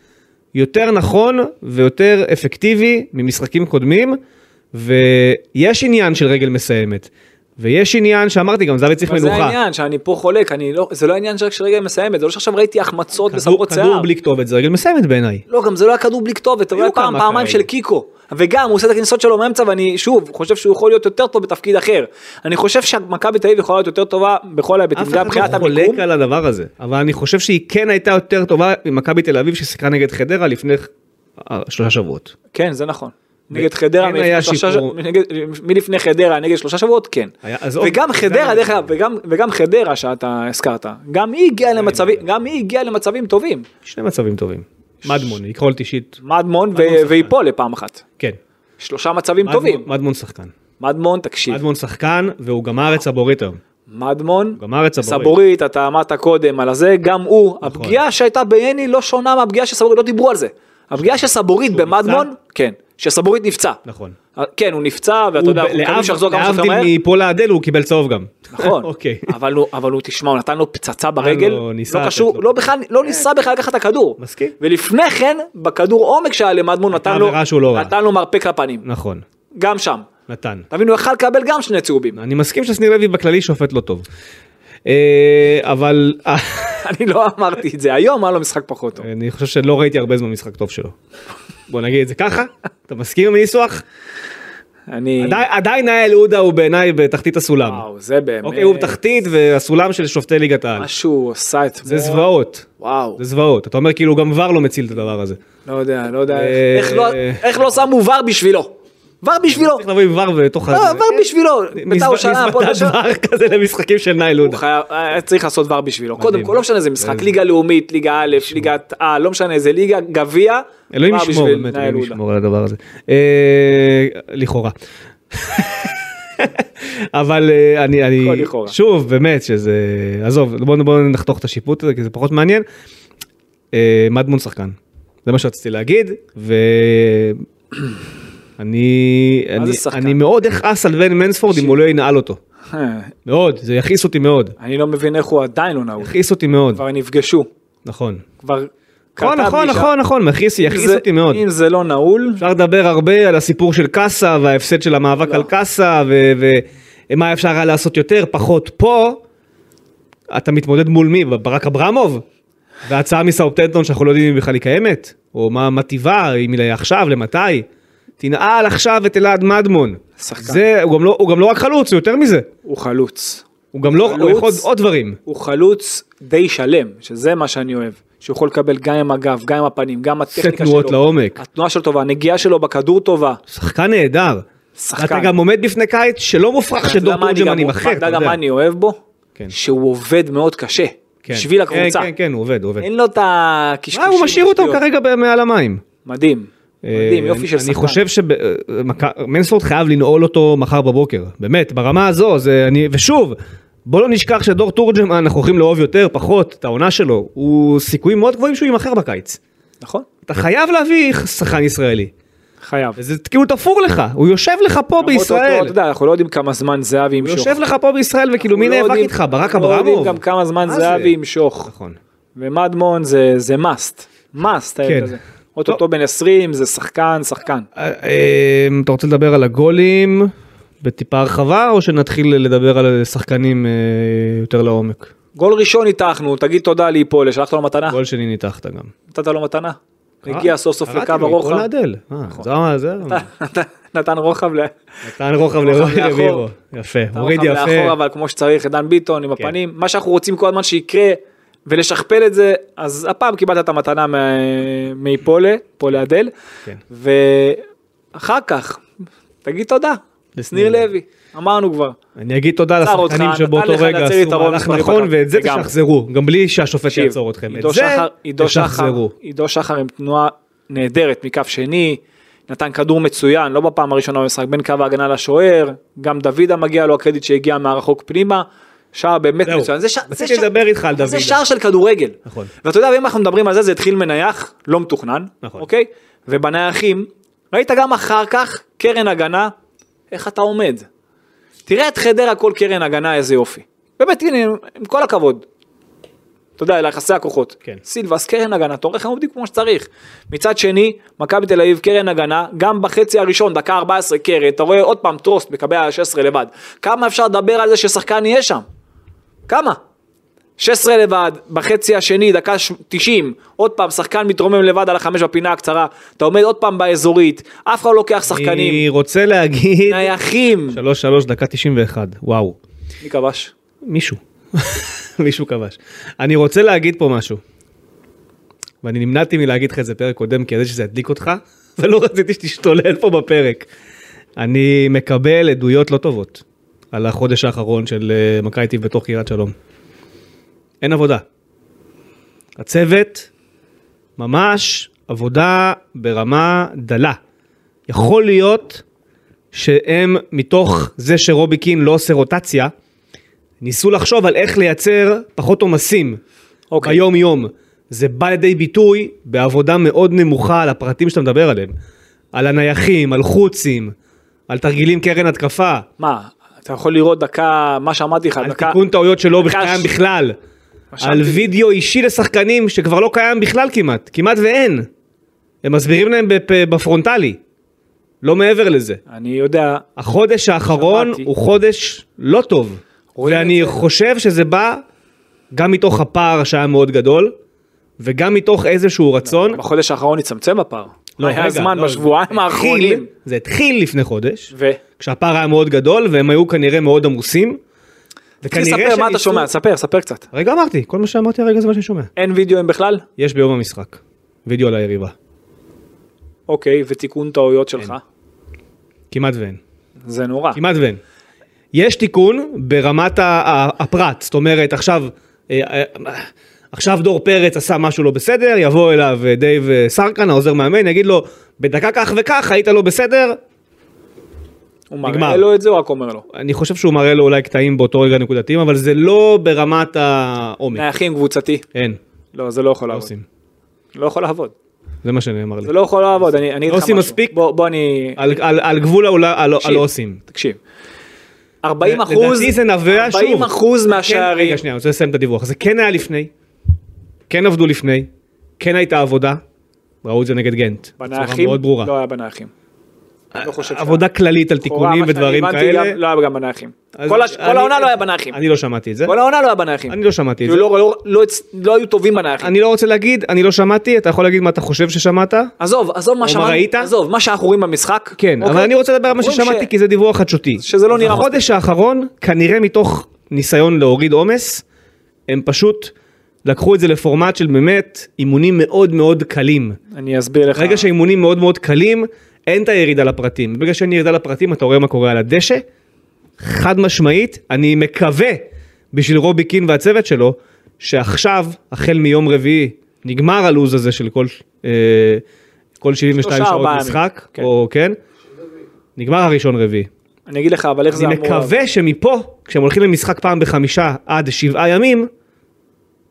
יותר נכון ויותר אפקטיבי ממשחקים קודמים, ויש עניין של רגל מסיימת, ויש עניין שאמרתי גם זהבי צריך
אבל זה
מנוחה.
העניין שאני פה חולק, אני לא, זה לא עניין שרק שרגע היא מסיימת, זה לא שעכשיו ראיתי החמצות
כדור,
וסמרות שיער.
כדור בלי כתובת זה רגל מסיימת בעיניי.
לא, גם זה לא היה כדור בלי כתובת, אתה
היו
רואה פעם,
כמה
פעמיים
כאלה.
של קיקו. וגם הוא עושה את הכניסות שלו מאמצע ואני שוב חושב שהוא יכול להיות יותר טוב בתפקיד אחר. אני חושב שמכבי תל אביב יכולה להיות יותר טובה בכל ההיבטים,
אף אחד
גם מבחינת
לא חולק
המיקום.
על הדבר הזה, אבל אני חושב שהיא כן הייתה יותר טובה ממכבי תל אביב ששיחקה נגד חדרה לפני אה, שלושה שבועות.
כן זה נכון.
ו-
נגד חדרה
כן היה
מלפני שלושה ש-
שיפור.
נגד- מלפני חדרה נגד שלושה שבועות כן.
היה- אז עוד-
וגם
זה
חדרה
היה-
דרך אגב וגם- וגם חדרה שאתה הזכרת גם היא הגיעה למצבים גם היא הגיעה למצבים טובים.
שני מצבים טובים. מדמון, יקרולת אישית,
מדמון ו-
שחקן.
ויפול לפעם אחת.
כן.
שלושה מצבים
מדמון-
טובים. כן.
מדמון שחקן.
מדמון תקשיב.
מדמון שחקן והוא גמר את סבורית היום.
מדמון,
הוא גמר את סבורית.
סבורית, אתה אמרת קודם על זה, גם הוא,
נכון.
הפגיעה שהייתה ביני לא שונה מהפגיעה של סבורית, לא דיברו על זה. הפגיעה של סבורית במדמון,
נכון. נפצע?
כן, שסבורית נפצע.
נכון.
אה, כן, הוא נפצע, ואתה
הוא
יודע,
ב-
אנחנו מקווים
להבדיל-
שיחזור כמה שיותר
להבדיל
מהר.
מפול האדל הוא קיבל צהוב גם. *laughs*
נכון,
אוקיי.
אבל הוא, אבל הוא, תשמע, הוא נתן לו פצצה ברגל,
לו, ניסה
לא
לתת
קשור,
לו.
לא בכלל, לא ניסה בכלל לקחת את הכדור.
מסכים.
ולפני כן, בכדור עומק שהיה למדמון,
הייתה
נתן לו,
עבירה שהוא לא ראה.
נתן לו מרפק לפנים,
נכון,
גם שם.
נתן.
תבינו, יכל לקבל גם שני צהובים.
אני מסכים ששניר לוי בכללי שופט לא טוב. אה, אבל *laughs* אה,
אני לא אמרתי את זה, היום היה לו משחק פחות טוב.
אני חושב שלא ראיתי הרבה זמן משחק טוב שלו. בוא נגיד את זה ככה, אתה מסכים עם הניסוח?
אני...
אה. עדיין- עדיין האל עודה הוא בעיניי בתחתית הסולם.
וואו, זה באמת...
אוקיי, הוא בתחתית והסולם של שופטי ליגת העל.
מה שהוא עשה אתמול.
זה זוועות,
וואו,
זה זוועות. אתה אומר כאילו גם ור לא מציל את הדבר הזה.
לא יודע, לא יודע,
אה,
איך לא- איך לא שמו ור בשבילו. ור בשבילו.
צריך לבוא עם ור ולתוך
לא, ור בשבילו. בית"ר ירושלים, הפועל באר
מזוודת ור
שבע.
כזה למשחקים של נייל
הוא
עודה.
חייב- היה צריך לעשות ור בשבילו. קודם כל, לא משנה איזה משחק,
איזה-
ליגה לאומית, ליגה א', ליגת על, לא משנה איזה ליגה, גביע.
אלוהים
ור
ישמור,
בשביל
באמת,
נאי
אלוהים
לודה.
ישמור על הדבר הזה. אה, לכאורה. *laughs* אבל אה, אני, אני,
הכל לכאורה.
שוב, באמת שזה, עזוב, בואו בוא נחתוך את השיפוט הזה, כי זה פחות מעניין. אה, מדמון שחקן, זה מה שרציתי להגיד, ואני
מה זה
*clears throat* אני,
שחקן?
אני מאוד אכעס על ון מנספורד אם הוא לא ינעל אותו,
אה,
מאוד, זה יכעיס אותי מאוד,
אני לא מבין איך הוא עדיין לא נהוג.
יכעיס אותי מאוד,
כבר נפגשו,
נכון.
כבר...
נכון,
קרתה
נכון,
פגישה.
נכון, נכון, מכעיס יכעיס
זה-
אותי מאוד.
אם זה לא נעול,
אפשר לדבר הרבה על הסיפור של קאסה וההפסד של המאבק
לא.
על קאסה ו- ומה אפשר היה לעשות יותר, פחות פה. אתה מתמודד מול מי? ברק אברמוב? וההצעה מסאופטנטון שאנחנו לא יודעים אם בכלל היא קיימת? או מה מה טיבה, אם היא לעכשיו, למתי? תנעל עכשיו את אלעד מדמון.
שחקן.
זה, הוא גם לא- הוא גם לא רק חלוץ, הוא יותר מזה.
הוא חלוץ.
הוא גם לא, הוא
חלוץ.
יכול עוד- עוד דברים.
הוא חלוץ די שלם, שזה מה שאני אוהב. שהוא יכול לקבל גם עם הגב, גם עם הפנים, גם הטכניקה שלו.
תנועות לעומק.
התנועה שלו טובה, הנגיעה שלו בכדור טובה.
שחקן נהדר.
שחקן.
אתה גם עומד בפני קיץ שלא מופרך
אתה יודע
שדור
מה אני
תורג'מן
גם-
יימכר.
אתה
אתה
יודע
יודע.
מה אני אוהב בו?
כן.
שהוא עובד מאוד קשה.
כן.
בשביל הקבוצה.
כן, כן, כן, הוא עובד, הוא עובד.
אין לו את הקשקושים.
אה, הוא משאיר אותו
השטויות.
כרגע ב- מעל המים.
מדהים. מדהים,
אה,
יופי של שחקן.
אני חושב שמנספורד חייב לנעול אותו מחר בבוקר, באמת, ברמה הזו, זה אני, ושוב, בוא לא נשכח שדור תורג'מן, אנחנו הולכים לאהוב יותר, פחות, את העונה שלו, הוא סיכויים מאוד גבוהים שהוא יימכר בקיץ.
נכון?
אתה חייב להביא שחקן ישראלי,
חייב.
וזה כאילו תפור לך, הוא יושב לך פה
למרות
בישראל,
אותו, אתה יודע, אנחנו לא יודעים כמה זמן זהבי
הוא
ימשוך.
יושב לך פה בישראל וכאילו מי
אנחנו לא
נאבק
יודעים-
איתך, ברק
אנחנו לא יודעים
אברמוב.
גם כמה זמן
מה זה?
זהבי ימשוך.
נכון.
ומדמון זה זה must. must.
כן.
הילד הזה. אוטוטו
לא-
בן 20 זה שחקן שחקן.
אה, אה, אתה רוצה לדבר על הגולים בטיפה הרחבה או שנתחיל לדבר על שחקנים אה, יותר לעומק?
גול ראשון ניתחנו, תגיד תודה ליפול, שלחת לו מתנה,
גול שני ניתחת גם.
נתת לו מתנה. הגיע סוף סוף
קראתי
לקו
לו,
הרוחב, נכון.
עיפרון האדל. אה, זה מה זה?
*laughs* נתן רוחב ל-
נתן רוחב
רוחב לאחור.
לרוירו. יפה, מוריד
רוחב לאחור,
יפה.
אבל כמו שצריך, דן ביטון עם
כן.
הפנים, מה שאנחנו רוצים כל הזמן שיקרה ולשכפל את זה, אז הפעם קיבלת את המתנה מה- מאיפולה, פולה אדל,
כן.
ואחר כך, תגיד תודה,
לשניר
לשניר לוי, אמרנו כבר,
אני אגיד תודה
עצר
לשחקנים
אותך,
שבאותו
נתן לך
רגע
להצהיר
עשו
יתרון
מהלך
מספרי
נכון
בטח.
ואת זה
לגמרי.
תשחזרו, גם בלי שהשופט
תקשיב,
יעצור אתכם. את
עידו
זה
שחר- עידו שחר,
תשחזרו.
עידו שחר עם תנועה נהדרת מקו שני, נתן כדור מצוין, לא בפעם הראשונה במשחק, בין קו ההגנה לשוער, גם דוידה מגיע לו הקרדיט שהגיע מהרחוק פנימה, שער באמת
זהו,
מצוין. זה ש- זה
רציתי
ש-
לדבר איתך על
זה
דוידה.
שער של כדורגל.
נכון.
ואתה יודע, ואם אנחנו מדברים על זה, זה התחיל מנייח, לא מתוכנן,
נכון.
אוקיי? ובנייחים, ראית גם אחר כך, קרן הגנה, איך אתה עומד. תראה את חדרה כל קרן הגנה, איזה יופי. באמת, הנה, עם- עם כל הכבוד. אתה יודע, ליחסי הכוחות.
כן.
סילבס, קרן הגנה, אתה רואה איך הם עובדים כמו שצריך. מצד שני, מכבי תל אביב, קרן הגנה, גם בחצי הראשון, דקה 14 קרן, אתה רואה עוד פעם טרוסט מקבל 16 לבד. כמה אפשר לדבר על זה ששחקן יהיה שם? כמה? 16 לבד, בחצי השני, דקה ש- 90, עוד פעם, שחקן מתרומם לבד על החמש בפינה הקצרה, אתה עומד עוד פעם באזורית, אף אחד לא לוקח שחקנים,
אני רוצה להגיד...
נייחים.
3-3 דקה 91, וואו.
מי כבש?
מישהו. *laughs* מישהו כבש. אני רוצה להגיד פה משהו. ואני נמנעתי מלהגיד לך את זה פרק קודם, כי ידעתי שזה ידליק אותך, *laughs* ולא רציתי שתשתולל פה בפרק. אני מקבל עדויות לא טובות על החודש האחרון של אה, מכבי טיב בתוך קריית שלום. אין עבודה. הצוות, ממש עבודה ברמה דלה. יכול להיות שהם, מתוך זה שרובי קין לא עושה רוטציה, ניסו לחשוב על איך לייצר פחות עומסים
אוקיי.
ביום יום. זה בא לידי ביטוי בעבודה מאוד נמוכה על הפרטים שאתה מדבר עליהם. על הנייחים, על חוצים, על תרגילים קרן התקפה,
מה, אתה יכול לראות דקה, מה שאמרתי לך,
על
דקה...
תיקון טעויות שלא
דקה
קיים
ש-
בכלל,
רשמתי.
על וידאו אישי לשחקנים שכבר לא קיים בכלל כמעט, כמעט ואין. הם מסבירים להם בפ- בפרונטלי, לא מעבר לזה.
אני יודע,
החודש האחרון
שמעתי.
הוא חודש לא טוב.
רואים
ואני חושב שזה בא גם מתוך הפער שהיה מאוד גדול, וגם מתוך איזשהו רצון.
בחודש האחרון הצטמצם הפער.
נכון? לא,
לא, היה
רגע,
זמן
לא,
בשבועיים
זה התחיל-
האחרונים.
זה התחיל לפני חודש,
ו...
כשהפער היה מאוד גדול, והם היו כנראה מאוד עמוסים. וכנראה
ספר מה אתה
שניסו-
שומע, ספר, ספר קצת.
רגע אמרתי, כל מה שאמרתי הרגע זה מה שאני שומע.
אין וידאוים בכלל?
יש ביום המשחק, וידאו על היריבה.
אוקיי, ותיקון טעויות שלך.
כמעט ואין.
זה נורא.
כמעט ואין. יש תיקון ברמת ה- ה- הפרט, זאת אומרת עכשיו, אה, אה, עכשיו דור פרץ עשה משהו לא בסדר, יבוא אליו אה, דייב אה, סרקן, העוזר מאמן, יגיד לו, בדקה כך וכך היית לא בסדר,
הוא
נגמר.
מראה לו את זה, הוא רק אומר לו.
אני חושב שהוא מראה לו אולי קטעים באותו רגע נקודתיים, אבל זה לא ברמת העומק,
נייחים "אה, קבוצתי.
אין,
לא, זה לא יכול
לא
לעבוד.
עושים,
לא יכול לעבוד.
זה מה שנאמר לי,
זה לא יכול לעבוד, אני אני אגיד לך משהו.
לא עושים מספיק? אה.
בוא בוא אני...
על- על- על גבול העולם, על
תקשיב,
לא עושים.
תקשיב. 40 אחוז...
לדעתי זה נובע, שוב.
40 אחוז
כן,
מהשערים.
רגע, שנייה, אני רוצה לסיים את הדיווח. זה כן היה לפני, כן עבדו לפני, כן הייתה עבודה, ראו את זה נגד גנט. בצורה
בנייחים?
מאוד ברורה.
לא היה בנייחים. אני לא חושב
עבודה כללית על תיקונים
לכאורה, מה שאני
ודברים
הבנתי,
כאלה.
גם- לא היה גם בנייחים.
אז
כל הש-
אני-
כל העונה לא היה בנייחים.
אני לא שמעתי את זה.
כל העונה לא היה בנייחים.
אני לא שמעתי את
כאילו
זה.
לא- לא- לא הצ- לא היו טובים בנייחים.
אני לא רוצה להגיד, אני לא שמעתי, אתה יכול להגיד מה אתה חושב ששמעת?
עזוב, עזוב מה
או
שאמרנו,
ראית?
עזוב, מה שאנחנו רואים במשחק.
כן, אבל
אוקיי?
אני רוצה לדבר על מה
רואים
ששמעתי,
ש-
כי זה דיווח חדשותי.
שזה לא נראה
בחודש האחרון, כנראה מתוך ניסיון להוריד עומס, הם פשוט לקחו את זה לפורמט של באמת אימונים מאוד מאוד קלים.
אני אסביר לך.
ברגע שהאימונים מאוד מאוד קלים, אין את הירידה לפרטים. ברגע שאין ירידה לפרטים, אתה רואה מה קורה על הדשא. חד משמעית, אני מקווה בשביל רובי קין והצוות שלו, שעכשיו, החל מיום רביעי, נגמר הלו"ז הזה של כל, אה, כל 72
שלושה,
שעות
ארבעה ימים.
משחק,
כן.
או כן, נגמר הראשון רביעי.
אני אגיד לך, אבל איך זה
אני
אמור...
מקווה שמפה, כשהם הולכים למשחק פעם בחמישה עד שבעה ימים,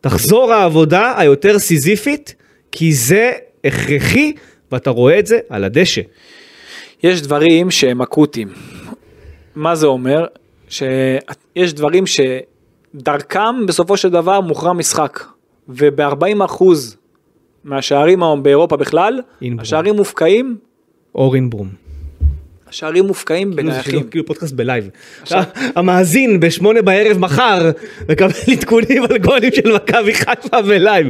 תחזור העבודה היותר סיזיפית, כי זה הכרחי, ואתה רואה את זה על הדשא.
יש דברים שהם אקוטיים. מה זה אומר? שיש דברים שדרכם בסופו של דבר מוכרע משחק. וב-40% מהשערים היום באירופה בכלל,
אינברום.
השערים מופקעים,
אורין ברום.
השערים מופקעים
כאילו זה
בנייחים.
כאילו- כאילו פודקאסט בלייב. המאזין בשמונה בערב מחר מקבל עדכונים על גולים של מכבי חיפה בלייב.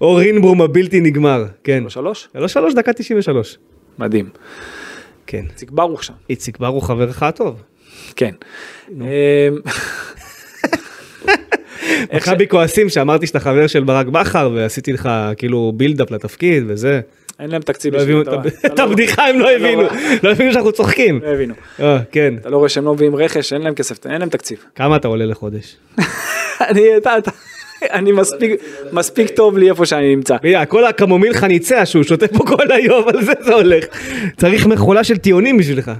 אורין ברום הבלתי נגמר, כן.
שלוש?
שלוש שלוש דקה 93.
מדהים.
כן.
איציק ברוך שם.
איציק בר הוא חברך הטוב.
כן.
*laughs*
אמ, איך ש-
מכבי כועסים שאמרתי שאתה חבר של ברק בכר ועשיתי לך כאילו בילדאפ לתפקיד וזה.
אין להם תקציב
לא הבינו
בשביל
את
אתה רואה.
ה- *laughs* את
אתה לא-
הבדיחה הם לא
אתה לא
הבינו.
רואה.
לא הבינו שאנחנו צוחקים.
לא הבינו.
אה, כן.
אתה לא רואה שהם לא מביאים רכש, אין להם כסף, אין להם
*laughs*
תקציב.
כמה אתה עולה לחודש?
אני, אתה, אתה, אני מספיק, מספיק טוב לי איפה שאני נמצא.
ביה, כל הקמומיל חניצה שהוא שותה פה כל היום, על זה זה הולך. צריך מכולה של טיעונים בשבילך.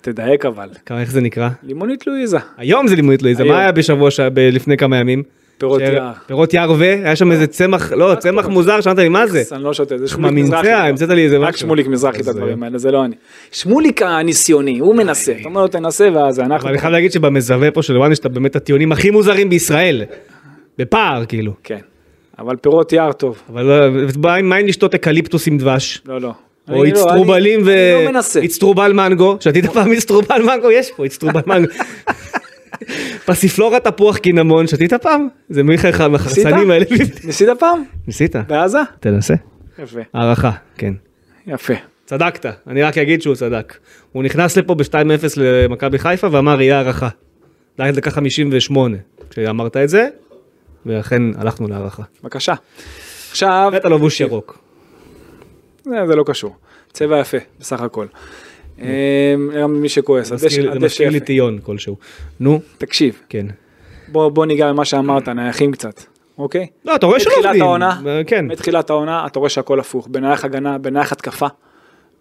תדייק אבל.
כמה, איך זה נקרא?
לימונית לואיזה.
היום זה לימוד לואיזה,
היום.
מה היה בשבוע, ש- ב- לפני כמה ימים?
פירות
ש-
יער. אה,
פירות יער ו... היה שם איזה צמח, לא, צמח מוזר, שאלת לי מה זה?
אז אני לא שותה, זה שמוליק
חממינציה,
מזרחי.
המצאת לי איזה
רק
משהו.
שמוליק מזרחי את
אז,
הדברים האלה, זה לא אני. שמוליק הניסיוני, הוא מנסה. אתה אומר לו תנסה ואז אנחנו...
אבל אני חייב להגיד שבמזווה פה של וואן יש את באמת הטיעונים הכי מוזרים בישראל. בפער, כאילו.
כן. אבל פירות יער טוב.
אבל לא- מה עם- מה אם לשתות אקליפטוס עם דבש?
לא, לא. אני
או
לא,
איצטרובלים
אני-
ו...
אני לא מנסה. *laughs*
איצטרובל מנגו, שתית פעם איצטרובל מנגו, יש פה איצטרובל מנגו. פסיפלורה תפוח קינמון, שתית פעם? זה מיכאל
ניסית?
מהחרסנים האלה.
ניסית פעם?
ניסית?
בעזה?
תנסה.
יפה.
הערכה, כן.
יפה.
צדקת, אני רק אגיד שהוא צדק. הוא נכנס לפה ב-2-0 למכבי חיפה ואמר יהיה הערכה. זה היה דקה 58 כשאמרת את זה, ואכן הלכנו להערכה.
בבקשה. עכשיו,
ואתה לבוש ירוק.
אה, זה לא קשור. צבע יפה, בסך הכל. אה, גם מי שכועס,
זה מזכיר- זה
הדשא- הדשא
מזכיר לי
יפה.
טיון כלשהו. נו,
תקשיב,
כן.
בוא בוא ניגע במה שאמרת, נייחים קצת, אוקיי?
לא, אתה רואה שלא עובדים.
מתחילת העונה,
אה, כן.
מתחילת העונה אתה רואה שהכל הפוך, בנייח הגנה, בנייח התקפה,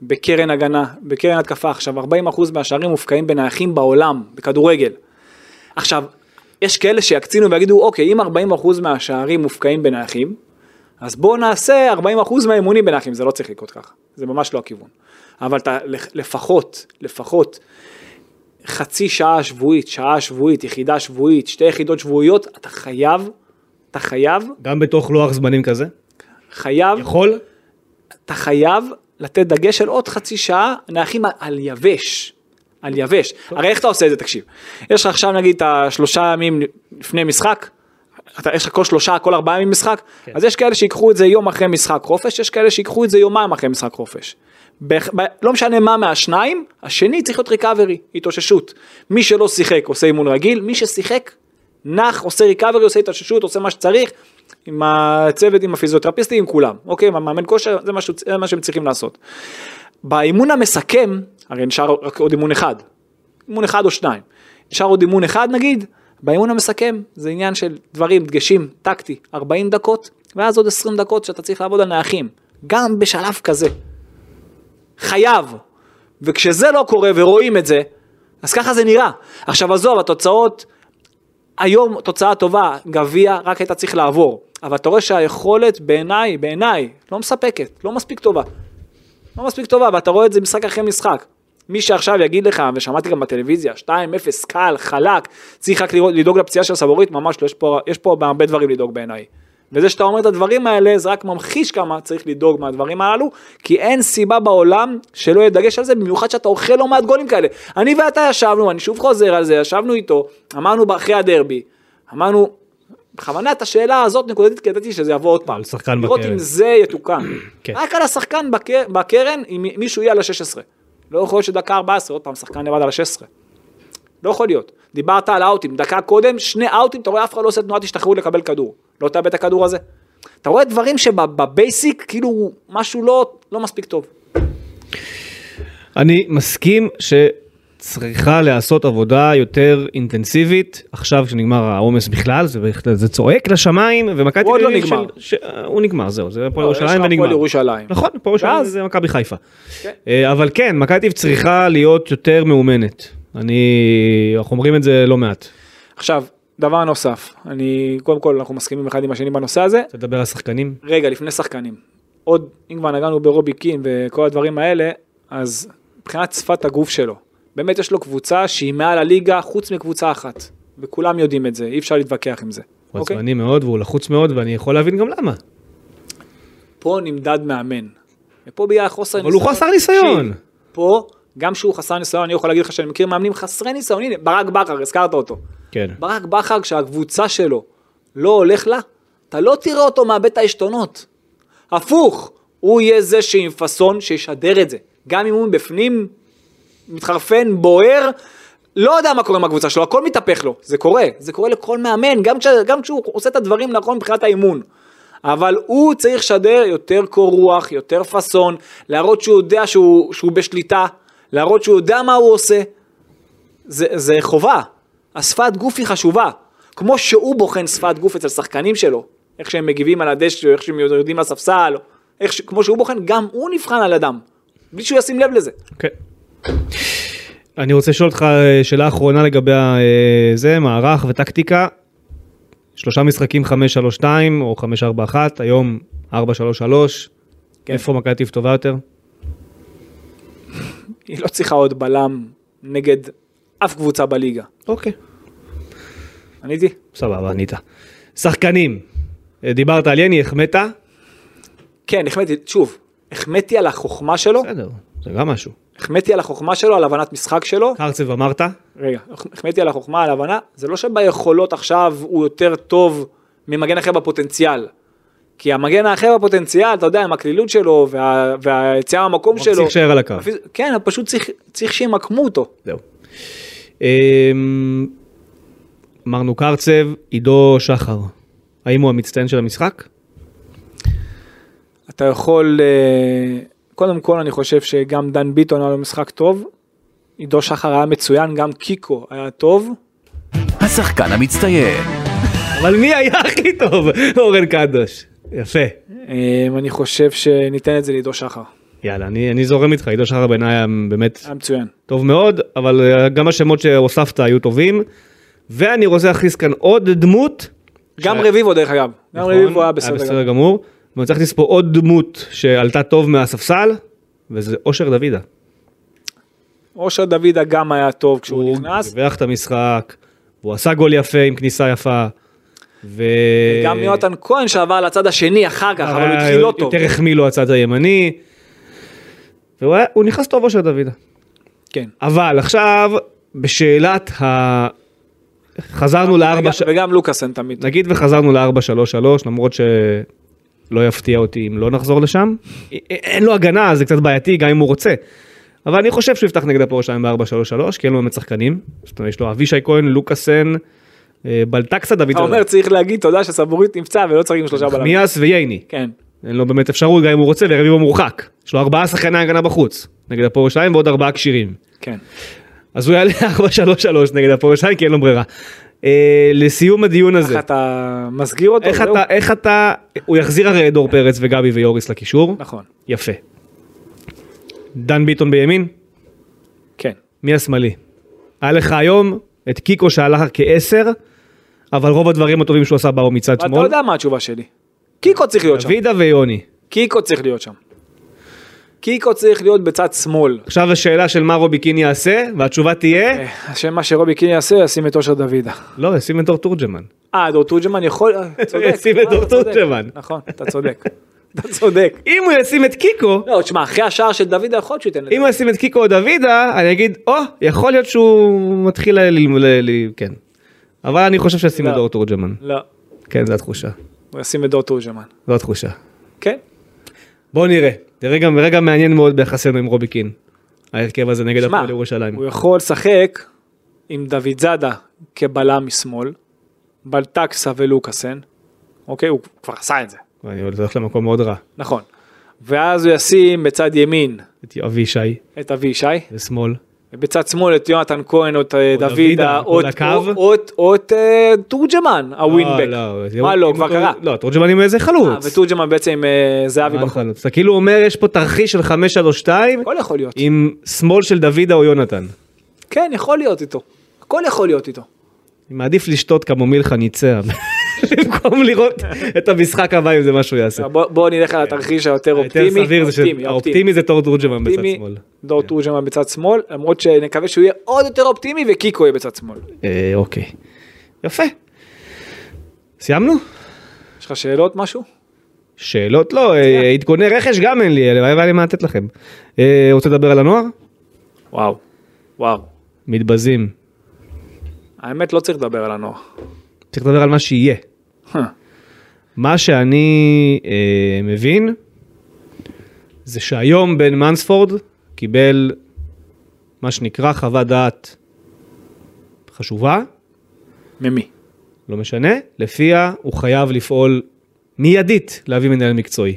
בקרן הגנה, בקרן התקפה. עכשיו 40% מהשערים מופקעים בנייחים בעולם, בכדורגל. עכשיו, יש כאלה שיקצינו ויגידו, אוקיי, אם 40% מהשערים מופקעים בנייחים, אז בואו נעשה 40% מהאימונים בנייחים, זה לא צריך לקרות ככה, זה ממש לא הכיוון. אבל אתה לפחות, לפחות, חצי שעה שבועית, שעה שבועית, יחידה שבועית, שתי יחידות שבועיות, אתה חייב, אתה חייב,
גם בתוך לוח זמנים כזה.
חייב,
יכול?
אתה חייב לתת דגש על עוד חצי שעה, נערכים על- על יבש. על יבש. הרי איך אתה עושה את זה, תקשיב. יש לך עכשיו נגיד את השלושה ימים לפני משחק, אתה, יש לך כל שלושה, כל ארבעה ימים משחק, כן. אז יש כאלה שיקחו את זה יום אחרי משחק חופש, יש כאלה שיקחו את זה יומיים אחרי משחק חופש. בהכ- ב- לא משנה מה מהשניים, השני צריך להיות ריקאברי, התאוששות. מי שלא שיחק עושה אימון רגיל, מי ששיחק נח, עושה ריקאברי, עושה התאוששות, עושה מה שצריך, עם הצוות, עם הפיזיותרפיסטים, עם כולם. אוקיי, עם המאמן כושר, זה מה, שהוא- זה מה שהם צריכים לעשות. באימון המסכם, הרי נשאר רק עוד אימון אחד, אימון אחד או שניים. נשאר עוד אימון אחד נגיד, באימון המסכם זה עניין של דברים, דגשים, טקטי, 40 דקות, ואז עוד 20 דקות שאתה צריך לעבוד על נעכים, גם בשלב כזה. חייב. וכשזה לא קורה ורואים את זה, אז ככה זה נראה. עכשיו עזוב, התוצאות, היום תוצאה טובה, גביע, רק היית צריך לעבור. אבל אתה רואה שהיכולת בעיניי, בעיניי, לא מספקת, לא מספיק טובה. לא מספיק טובה, ואתה רואה את זה משחק אחרי משחק. מי שעכשיו יגיד לך, ושמעתי גם בטלוויזיה, 2-0, קל, חלק, צריך רק לראות- לדאוג לפציעה של סבורית, ממש לא, יש פה, יש פה הרבה דברים לדאוג בעיניי. וזה שאתה אומר את הדברים האלה, זה רק ממחיש כמה צריך לדאוג מהדברים הללו, כי אין סיבה בעולם שלא יהיה דגש על זה, במיוחד שאתה אוכל לא מעט גולים כאלה. אני ואתה ישבנו, אני שוב חוזר על זה, ישבנו איתו, אמרנו אחרי הדרבי, אמרנו, בכוונה את השאלה הזאת נקודתית, כי ידעתי שזה יבוא עוד פעם.
על שחקן
לראות
בקרן.
אם זה *clears throat* יתוקן.
כן.
רק על השחקן בק- בקרן, אם מישהו יהיה על ה-16. לא יכול להיות שדקה 14, עוד פעם, שחקן לבד על ה-16. לא יכול להיות. דיברת על האוטים, דקה קודם, שני אאוטים, אתה רואה אף אחד לא עושה תנועת השתחררות לקבל כדור. לא תאבד את הכדור הזה. אתה רואה דברים שבבייסיק, כאילו, משהו לא, לא מספיק טוב.
אני מסכים שצריכה להיעשות עבודה יותר אינטנסיבית עכשיו כשנגמר העומס בכלל זה, בהחלט- זה צועק לשמיים ומכבי
הוא עוד
תל
לא
אביב
נגמר.
ש... ש... הוא נגמר זהו זה הפועל
לא, יש לך
ירושלים
הפועל
ונגמר.
ירושלים.
נכון הפועל ירושלים
ואז-
זה מכבי חיפה.
כן.
אה, אבל כן מכבי תל אביב צריכה להיות יותר מאומנת. אני אנחנו אומרים את זה לא מעט.
עכשיו, דבר נוסף, אני, קודם כל, אנחנו מסכימים אחד עם השני בנושא הזה,
תדבר על שחקנים.
רגע, לפני שחקנים. עוד, אם כבר נגענו ברובי קין וכל הדברים האלה, אז מבחינת שפת הגוף שלו, באמת יש לו קבוצה שהיא מעל הליגה חוץ מקבוצה אחת, וכולם יודעים את זה, אי אפשר להתווכח עם זה.
הוא
אוקיי?
עצבני מאוד והוא לחוץ מאוד ואני יכול להבין גם למה.
פה נמדד מאמן. ופה בגלל חוסר
אבל הוא חסר ניסיון.
תקשיב, פה, גם שהוא חסר ניסיון, אני יכול להגיד לך שאני מכיר מאמנים חסרי ניסיון, הנה, ברק בכר, הזכרת אותו.
כן.
ברק בכר, כשהקבוצה שלו לא הולך לה, אתה לא תראה אותו מאבד את העשתונות. הפוך, הוא יהיה זה שעם פאסון שישדר את זה. גם אם הוא מבפנים מתחרפן, בוער, לא יודע מה קורה עם הקבוצה שלו, הכל מתהפך לו, זה קורה, זה קורה לכל מאמן, גם, כש, גם כשהוא עושה את הדברים נכון מבחינת האימון. אבל הוא צריך לשדר יותר קור רוח, יותר פאסון, להראות שהוא יודע שהוא, שהוא בשליטה, להראות שהוא יודע מה הוא עושה. זה, זה חובה. השפת גוף היא חשובה. כמו שהוא בוחן שפת גוף אצל שחקנים שלו, איך שהם מגיבים על הדשא, איך שהם יורדים לספסל, איך ש... כמו שהוא בוחן, גם הוא נבחן על אדם. בלי שהוא ישים לב לזה.
אוקיי. אני רוצה לשאול אותך אה, שאלה אחרונה לגבי ה- אה, זה, מערך וטקטיקה. שלושה משחקים 5-3-2 או 5-4-1, היום 4-3-3.
כן.
איפה מכבי תל אביב טובה יותר?
היא לא צריכה עוד בלם נגד אף קבוצה בליגה.
אוקיי.
עניתי?
סבבה, ענית. שחקנים, אה, דיברת על יני, החמאת?
כן, החמאתי, שוב, החמאתי על החוכמה שלו,
בסדר, זה גם משהו.
החמאתי על החוכמה שלו, על הבנת משחק שלו.
קרצב אמרת?
רגע, החמאתי על החוכמה, על הבנה, זה לא שביכולות עכשיו הוא יותר טוב ממגן אחר בפוטנציאל. כי המגן האחר בפוטנציאל, אתה יודע, עם הקלילות שלו וה, והיציאה מהמקום
רק
שלו.
צריך להישאר על הקו.
אפילו- כן, פשוט צריך, צריך שימקמו אותו.
זהו. אמ, אמרנו קרצב, עידו שחר. האם הוא המצטיין של המשחק?
אתה יכול, אה, קודם כל אני חושב שגם דן ביטון היה לו משחק טוב, עידו שחר היה מצוין, גם קיקו היה טוב.
השחקן המצטיין.
אבל מי היה הכי טוב? אורן קדוש. יפה.
אה, אני חושב שניתן את זה לעידו שחר,
יאללה, אני, אני זורם איתך, עידו שחר בעיניי היה באמת
היה מצוין.
טוב מאוד, אבל אה, גם השמות שהוספת היו טובים. ואני רוצה להכניס כאן עוד דמות. נכון?
גם רביבו דרך אגב, גם רביבו נכון, היה בסדר גמור.
בסדר גמור. ואני צריך להכניס פה עוד דמות שעלתה טוב מהספסל, וזה אושר דוידה.
אושר דוידה גם היה טוב כשהוא נכנס,
דיווח את המשחק, הוא עשה גול יפה עם כניסה יפה. ו...
גם יונתן כהן שעבר לצד השני אחר כך, אבל הוא
היה
התחיל לא טוב.
אה, יותר החמיא לו הצד הימני. והוא היה- הוא נכנס טוב אושר דוידה.
כן.
אבל עכשיו, בשאלת ה... חזרנו לארבע...
וגם-
ש-
וגם לוקאסן תמיד. טוב.
נגיד וחזרנו ל-4-3-3, למרות שלא יפתיע אותי אם לא נחזור לשם. א- א- אין לו הגנה, אז זה קצת בעייתי, גם אם הוא רוצה. אבל אני חושב שהוא יפתח נגד הפועל שלהם ב-4-3-3, כי אין לו באמת שחקנים. זאת אומרת, יש לו אבישי כהן, לוקאסן, אה, בלטקסה, דוד
אתה אומר צריך להגיד תודה שסבורית נפצע ולא צריך עם שלושה בלמים.
מיאס וייני.
כן.
אין לו באמת אפשרות, גם אם הוא רוצה, ורביבו מורחק. יש לו ארבעה שחקני הגנה בחוץ, נגד הפועל שלהם ועוד ארבעה כשירים.
כן.
אז הוא יעלה 4-3-3 נגד הפועל שלהם, כי אין לו ברירה. אה, לסיום הדיון הזה.
איך אתה מסגיר אותו?
איך
זהו.
אתה, איך אתה, הוא יחזיר הרי את דור פרץ וגבי ויוריס לקישור.
נכון.
יפה. דן ביטון בימין,
כן.
מי השמאלי? היה לך היום את קיקו שהלך כעשר, אבל רוב הדברים הטובים שהוא עשה באו מצד
ואתה
שמאל.
יודע מה התשובה שלי. קיקו צריך להיות שם.
דוידה ויוני.
קיקו צריך להיות שם. קיקו צריך להיות בצד שמאל.
עכשיו השאלה של מה רוביקיני יעשה, והתשובה תהיה,
אה, השם מה שרובי קין יעשה, ישים את אושר דוידה.
לא, ישים את דור תורג'מן.
אה, דור תורג'מן יכול... אה, צודק.
ישים את
אה,
דור
אתה צודק.
תורג'מן.
נכון, אתה צודק. אתה צודק.
אם הוא ישים את קיקו,
לא, תשמע, אחרי השער של דוידה יכול להיות שהוא ייתן
אם
לדוידה.
הוא ישים את קיקו או דוידה, אני אגיד, או, יכול להיות שהוא מתחיל ל... ל- ל- כן. אבל אני חושב שישים את
לא.
דור תורג'מן.
לא,
כן, זו התחושה.
הוא ישים את דור תורג'מן.
זו התחושה.
כן.
בואו נראה. זה רגע, רגע מעניין מאוד ביחסינו עם רובי קין. ההרכב הזה נגד
שמע,
הפועל ירושלים.
הוא יכול לשחק עם דוד זאדה כבלם משמאל, בלטקסה ולוקאסן. אוקיי, הוא כבר עשה את זה.
אני הולך למקום מאוד רע.
נכון. ואז הוא ישים בצד ימין
את אבישי
את אבישי.
ושמאל.
בצד שמאל את יונתן כהן או את אה,
או
דוידה
דוידה,
או את-
על הקו.
או את- או את אה, תורג'מן הווינבק.
לא, לא,
מה לא
אם
כבר
אותו-
קרה.
לא, תורג'מן עם איזה
אה,
חלוץ.
ותורג'מן בעצם עם אה, זהבי
מה
בחוץ.
חלוץ? אתה כאילו אומר יש פה תרחיש של 532
הכל יכול להיות.
עם שמאל של דוידה או יונתן.
כן יכול להיות איתו. הכל יכול להיות איתו.
אני מעדיף לשתות כמו מילכה
*laughs*
ניצח. במקום לראות את המשחק הבא אם זה מה שהוא יעשה.
בוא- בואו נלך על התרחיש היותר
היותר
אופטימי.
סביר זה
אופטימי, אופטימי.
שהאופטימי זה תור תורג'מן בצד
אופטימי,
שמאל. כן.
דור תורג'מן בצד שמאל, למרות שנקווה שהוא יהיה עוד יותר אופטימי וקיקו יהיה בצד שמאל.
אה, אוקיי. יפה. סיימנו?
יש לך שאלות משהו?
שאלות? לא, אה, עדכוני רכש גם אין לי, הלוואי והיה לי מה לתת לכם. אה, רוצה לדבר על הנוער?
וואו. וואו.
מתבזים.
האמת לא צריך לדבר על הנוער. *laughs*
צריך לדבר על מה שיהיה. מה שאני אה, מבין, זה שהיום בן מנספורד קיבל מה שנקרא חוות דעת חשובה,
ממי?
לא משנה, לפיה הוא חייב לפעול מיידית להביא מנהל מקצועי.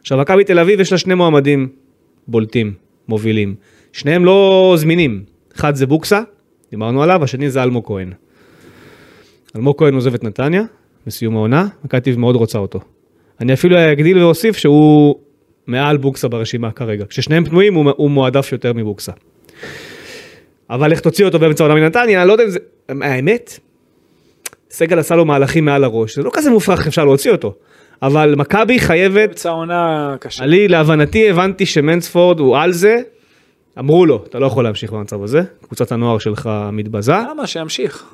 עכשיו, מכבי תל אביב יש לה שני מועמדים בולטים, מובילים. שניהם לא זמינים. אחד זה בוקסה, דיברנו עליו, השני זה אלמוג כהן. אלמוג כהן עוזב את נתניה בסיום העונה, מכבי תל אביב מאוד רוצה אותו. אני אפילו אגדיל ואוסיף שהוא מעל בוקסה ברשימה כרגע. כששניהם פנויים הוא, הוא מועדף יותר מבוקסה. אבל איך תוציא אותו באמצע העונה מנתניה, לא יודע אם זה... האמת, סגל עשה לו מהלכים מעל הראש, זה לא כזה מופרך אפשר להוציא אותו. אבל מכבי חייבת
באמצע העונה קשה.
אני להבנתי הבנתי שמנספורד הוא על זה, אמרו לו, אתה לא יכול להמשיך במצב הזה, קבוצת הנוער שלך מתבזה,
למה שימשיך?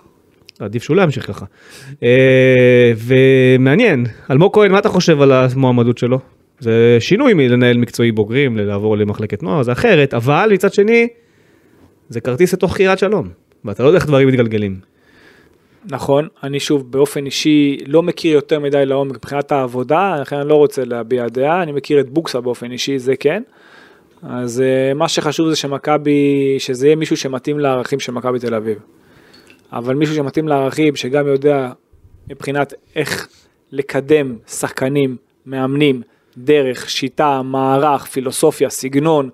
עדיף שהוא לא ימשיך ככה. אה, ומעניין, אלמוג כהן, מה אתה חושב על המועמדות שלו? זה שינוי מלנהל מקצועי בוגרים, לעבור למחלקת נוער, זה אחרת, אבל מצד שני, זה כרטיס לתוך קריית שלום, ואתה לא יודע איך דברים מתגלגלים.
נכון, אני שוב באופן אישי לא מכיר יותר מדי לעומק מבחינת העבודה, לכן אני לא רוצה להביע דעה, אני מכיר את בוקסה באופן אישי, זה כן. אז אה, מה שחשוב זה שמכבי, שזה יהיה מישהו שמתאים לערכים של מכבי תל אביב. אבל מישהו שמתאים לערכים, שגם יודע מבחינת איך לקדם שחקנים, מאמנים, דרך, שיטה, מערך, פילוסופיה, סגנון,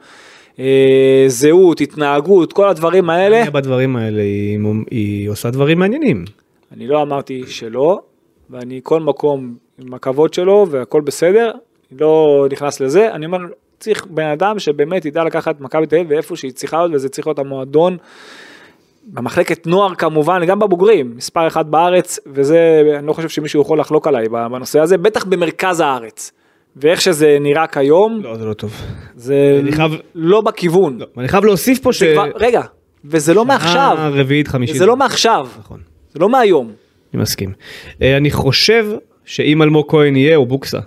אה, זהות, התנהגות, כל הדברים האלה.
אניה בדברים האלה, היא, מומ- היא עושה דברים מעניינים.
אני לא אמרתי שלא, ואני כל מקום עם הכבוד שלו והכל בסדר, אני לא נכנס לזה, אני אומר, צריך בן אדם שבאמת ידע לקחת את מכבי תל אביב ואיפה שהיא צריכה להיות, וזה צריך להיות המועדון, במחלקת נוער כמובן, גם בבוגרים, מספר אחד בארץ, וזה, אני לא חושב שמישהו יכול לחלוק עליי בנושא הזה, בטח במרכז הארץ. ואיך שזה נראה כיום,
לא, זה לא טוב.
זה
אני חייב-
לא בכיוון.
אני חייב להוסיף פה ש...
זה כבר, רגע, וזה לא מעכשיו,
אה, רביעית, חמישית.
זה לא מעכשיו,
נכון,
זה לא מהיום.
אני מסכים. אה, אני חושב שאם אלמוג כהן יהיה, או בוקסה,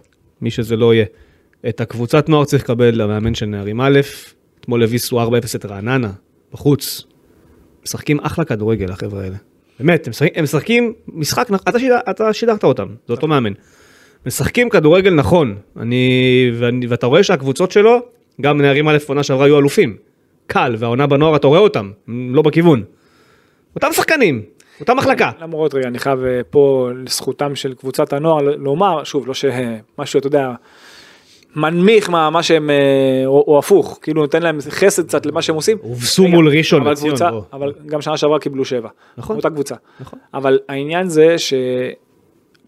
מי שזה לא יהיה, את הקבוצת נוער צריך לקבל למאמן של נערים א', אתמול הביסו 4-0 את רעננה, בחוץ. משחקים אחלה כדורגל, החבר'ה האלה. באמת, הם משחקים, הם משחקים משחק, נכ- אתה, שידר, אתה שידרת אותם, זה אותו מאמן. משחקים כדורגל נכון, אני, ואני, ואתה רואה שהקבוצות שלו, גם נערים א' עונה שעברה היו אלופים. קל, והעונה בנוער אתה רואה אותם, הם לא בכיוון. אותם שחקנים, אותה מחלקה.
למרות רגע, אני חייב אה, פה לזכותם של קבוצת הנוער ל- לומר, שוב, לא שמשהו, אתה יודע, מנמיך מה, מה שהם, אה, או, או הפוך, כאילו נותן להם חסד קצת למה שהם עושים.
הובסו
רגע,
מול ראשון
אבל
לציון,
קבוצה-
בוא.
אבל גם שנה שעברה קיבלו שבע.
נכון.
אותה קבוצה.
נכון.
אבל העניין זה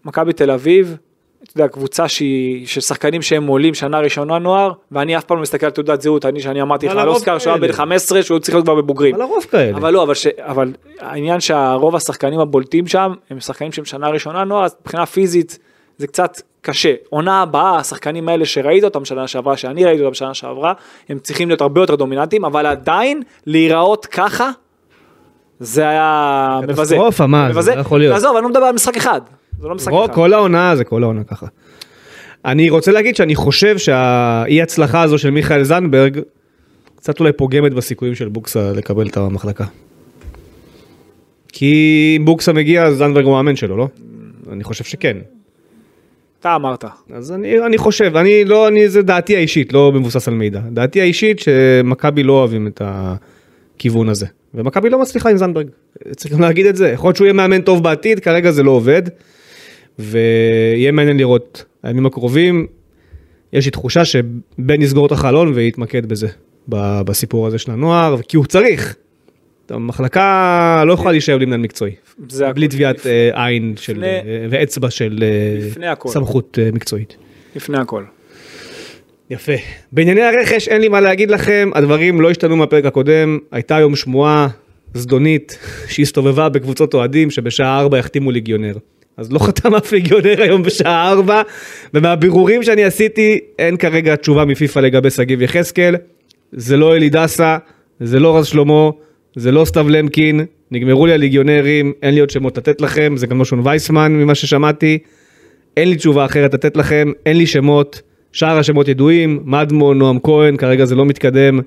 שמכבי תל אביב, אתה יודע, קבוצה שהיא, של שחקנים שהם עולים שנה ראשונה נוער, ואני אף פעם לא מסתכל על תעודת זהות, אני שאני אמרתי לך
אבל
על
הרוב
אוסקר שהוא היה
כאלה.
בן 15 שהוא צריך להיות כבר בבוגרים.
אבל הרוב כאלה.
אבל לא, אבל, ש... אבל העניין שהרוב השחקנים הבולטים שם הם שחקנים שהם שנה ראשונה נוער, אז מבחינה פיזית זה קצת קשה. עונה הבאה, השחקנים האלה שראית אותם שנה שעברה, שאני ראיתי אותם שנה שעברה, הם צריכים להיות הרבה יותר דומיננטיים, אבל עדיין להיראות ככה, זה היה מבזה.
קטסטרופה, מה, זה
מבזה.
לא יכול להיות.
עזוב, אני לא מדבר על משחק אחד. זה לא משחק
רוב-
אחד.
כל העונה זה כל העונה ככה. אני רוצה להגיד שאני חושב שהאי הצלחה הזו של מיכאל זנדברג קצת אולי פוגמת בסיכויים של בוקסה לקבל את המחלקה. כי אם בוקסה מגיע אז זנדברג הוא המאמן שלו, לא? אני חושב שכן.
אתה אמרת.
אז אני, אני חושב, אני לא, אני, זה דעתי האישית, לא מבוסס על מידע. דעתי האישית שמכבי לא אוהבים את הכיוון הזה. ומכבי לא מצליחה עם זנדברג. צריך גם להגיד את זה. יכול להיות שהוא יהיה מאמן טוב בעתיד, כרגע זה לא עובד. ויהיה מעניין לראות. הימים הקרובים, יש לי תחושה שבן יסגור את החלון ויתמקד בזה, ב- בסיפור הזה של הנוער, כי הוא צריך. המחלקה לא יכולה להישאר בלי מנהל מקצועי.
זה
בלי
הכל.
טביעת אה, עין של,
לפני-
אה, ואצבע של אה,
לפני הכל.
סמכות אה, מקצועית.
לפני הכל.
יפה. בענייני הרכש אין לי מה להגיד לכם, הדברים לא השתנו מהפרק הקודם, הייתה היום שמועה זדונית שהסתובבה בקבוצות אוהדים שבשעה 4 יחתימו ליגיונר. אז לא חתם אף ליגיונר היום בשעה 4, ומהבירורים שאני עשיתי אין כרגע תשובה מפיפ"א לגבי שגיב יחזקאל, זה לא אלי דסה, זה לא רז שלמה, זה לא סתיו למקין, נגמרו לי הליגיונרים, אין לי עוד שמות לתת לכם, זה גם לא שון וייסמן ממה ששמעתי. אין לי תשובה אחרת לתת לכם, אין לי שמות, שאר השמות ידועים, מדמון, נועם כהן, כרגע זה לא מתקדם.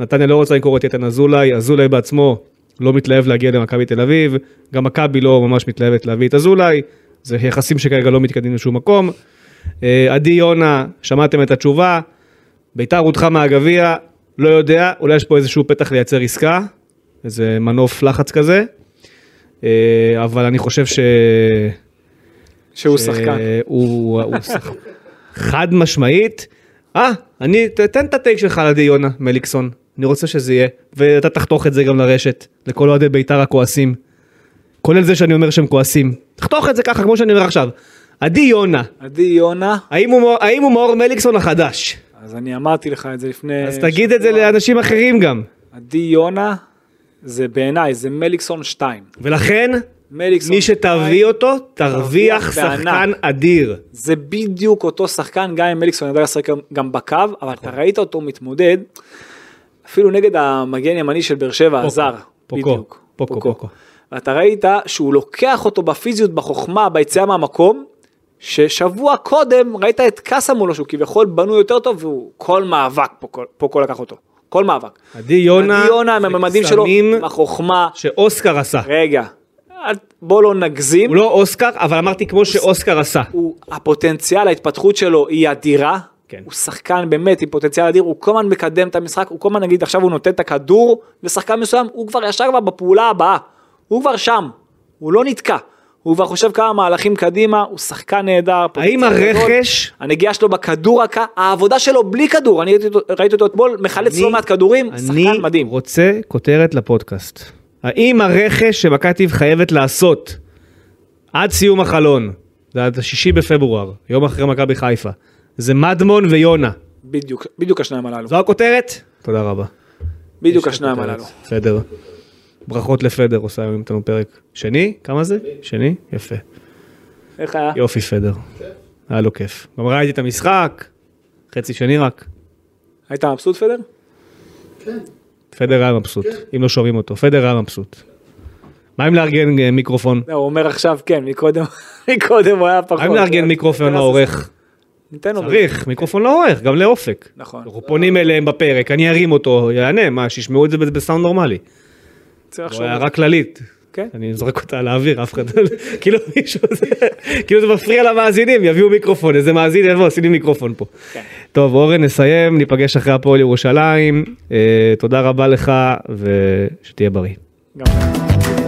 נתניה לא רוצה למכור את איתן אזולאי, אזולאי בעצמו לא מתלהב להגיע למכבי תל אביב, גם מכבי לא ממש מתלהבת להביא את אזולאי, זה יחסים שכרגע לא מתקדמים לשום מקום. אה, עדי יונה, שמעתם את התשובה, ביתר הודחה מהגביע, לא יודע, אולי יש פה איזשהו פתח לייצר עסקה, איזה מנוף לחץ כזה, אה, אבל אני חושב ש...
שהוא שחקן.
אה, הוא הוא שחקן. חד משמעית. אה, אני, ת- תן את הטייק שלך על עדי יונה, מליקסון. אני רוצה שזה יהיה. ואתה תחתוך את זה גם לרשת, לכל אוהדי בית"ר הכועסים. כולל זה שאני אומר שהם כועסים. תחתוך את זה ככה, כמו שאני אומר עכשיו. עדי יונה,
עדי יונה,
האם הוא מאור- האם הוא מאור מליקסון החדש?
אז אני אמרתי לך את זה לפני...
אז תגיד את זה לאנשים אחרים גם.
עדי יונה, זה בעיניי, זה מליקסון 2.
ולכן,
מליקסון. אה,
מי שתביא אותו, תרוויח
תרוויח בענק.
שחקן אדיר.
זה בדיוק אותו שחקן, גם אם מליקסון ידע לשחק גם- גם בקו,
נכון.
אבל אתה ראית אותו מתמודד, אפילו נגד המגן ימני של באר שבע, הזר.
פוקו,
בדיוק.
פוקו, פוקו.
ואתה ראית שהוא לוקח אותו בפיזיות, בחוכמה, ביציאה מהמקום, ששבוע קודם ראית את קאסה מולו שהוא כביכול בנוי יותר טוב והוא כל מאבק פה, כל- פה כל לקח אותו. כל מאבק.
עדי יונה,
עדי יונה עם הממדים שלו,
קסמים
עם החוכמה.
שאוסקר עשה.
רגע, אל- בוא לא נגזים.
הוא לא אוסקר, אבל אמרתי כמו שאוסקר עשה.
הוא, הפוטנציאל ההתפתחות שלו היא אדירה.
כן.
הוא שחקן באמת עם פוטנציאל אדיר, הוא כל הזמן מקדם את המשחק, הוא כל הזמן נגיד עכשיו הוא נותן את הכדור לשחקן מסוים, הוא כבר ישר כבר בפעולה הבאה, הוא כבר שם, הוא לא נתקע, הוא כבר חושב כמה מהלכים קדימה, הוא שחקן נהדר.
האם
פוטנציאל גדול.
הרכש-
הנגיעה שלו בכדור הקה, העבודה שלו בלי כדור, אני ראיתי אותו- ראיתי אותו אתמול, מחלץ
אני-
לא מעט כדורים, שחקן
אני
מדהים.
רוצה כותרת לפודקאסט. האם הרכש שמכבי תל אביב חייבת לעשות עד סיום החלון, זה עד השישי בפברואר, יום אחרי מכבי חיפה, זה מדמון ויונה.
בדיוק, בדיוק השניים הללו,
זו הכותרת? תודה רבה.
בדיוק
לא, יש
השניים
הכותרת.
הללו.
פדר. ברכות לפדר, עושה היום איתנו פרק שני, כמה זה? שני? יפה.
איך היה?
יופי פדר. היה לו כיף. גם ראיתי את המשחק, חצי שני רק.
היית מבסוט פדר?
פדר היה מבסוט, אם לא שומעים אותו, פדר היה מבסוט. מה אם לארגן אה, מיקרופון?
לא, הוא אומר עכשיו כן, מקודם, *laughs* מקודם הוא היה פחות. כן.
מה אם לארגן מיקרופון לעורך?
ניתן לו.
צריך, מיקרופון לעורך, גם לאופק.
נכון.
אנחנו פונים אליהם בפרק, אני ארים אותו, יענה, מה, שישמעו את זה בסאונד נורמלי.
צריך
זו
לחשוב.
הערה כללית.
כן.
אני זורק אותה על האוויר, אף אחד, *laughs* כאילו מישהו, זה- כאילו זה מפריע למאזינים, יביאו מיקרופון, איזה מאזין, יבוא, עשיתי מיקרופון פה.
כן.
טוב, אורן, נסיים, ניפגש אחרי הפועל ירושלים, אה, תודה רבה לך, ושתהיה בריא.
גם-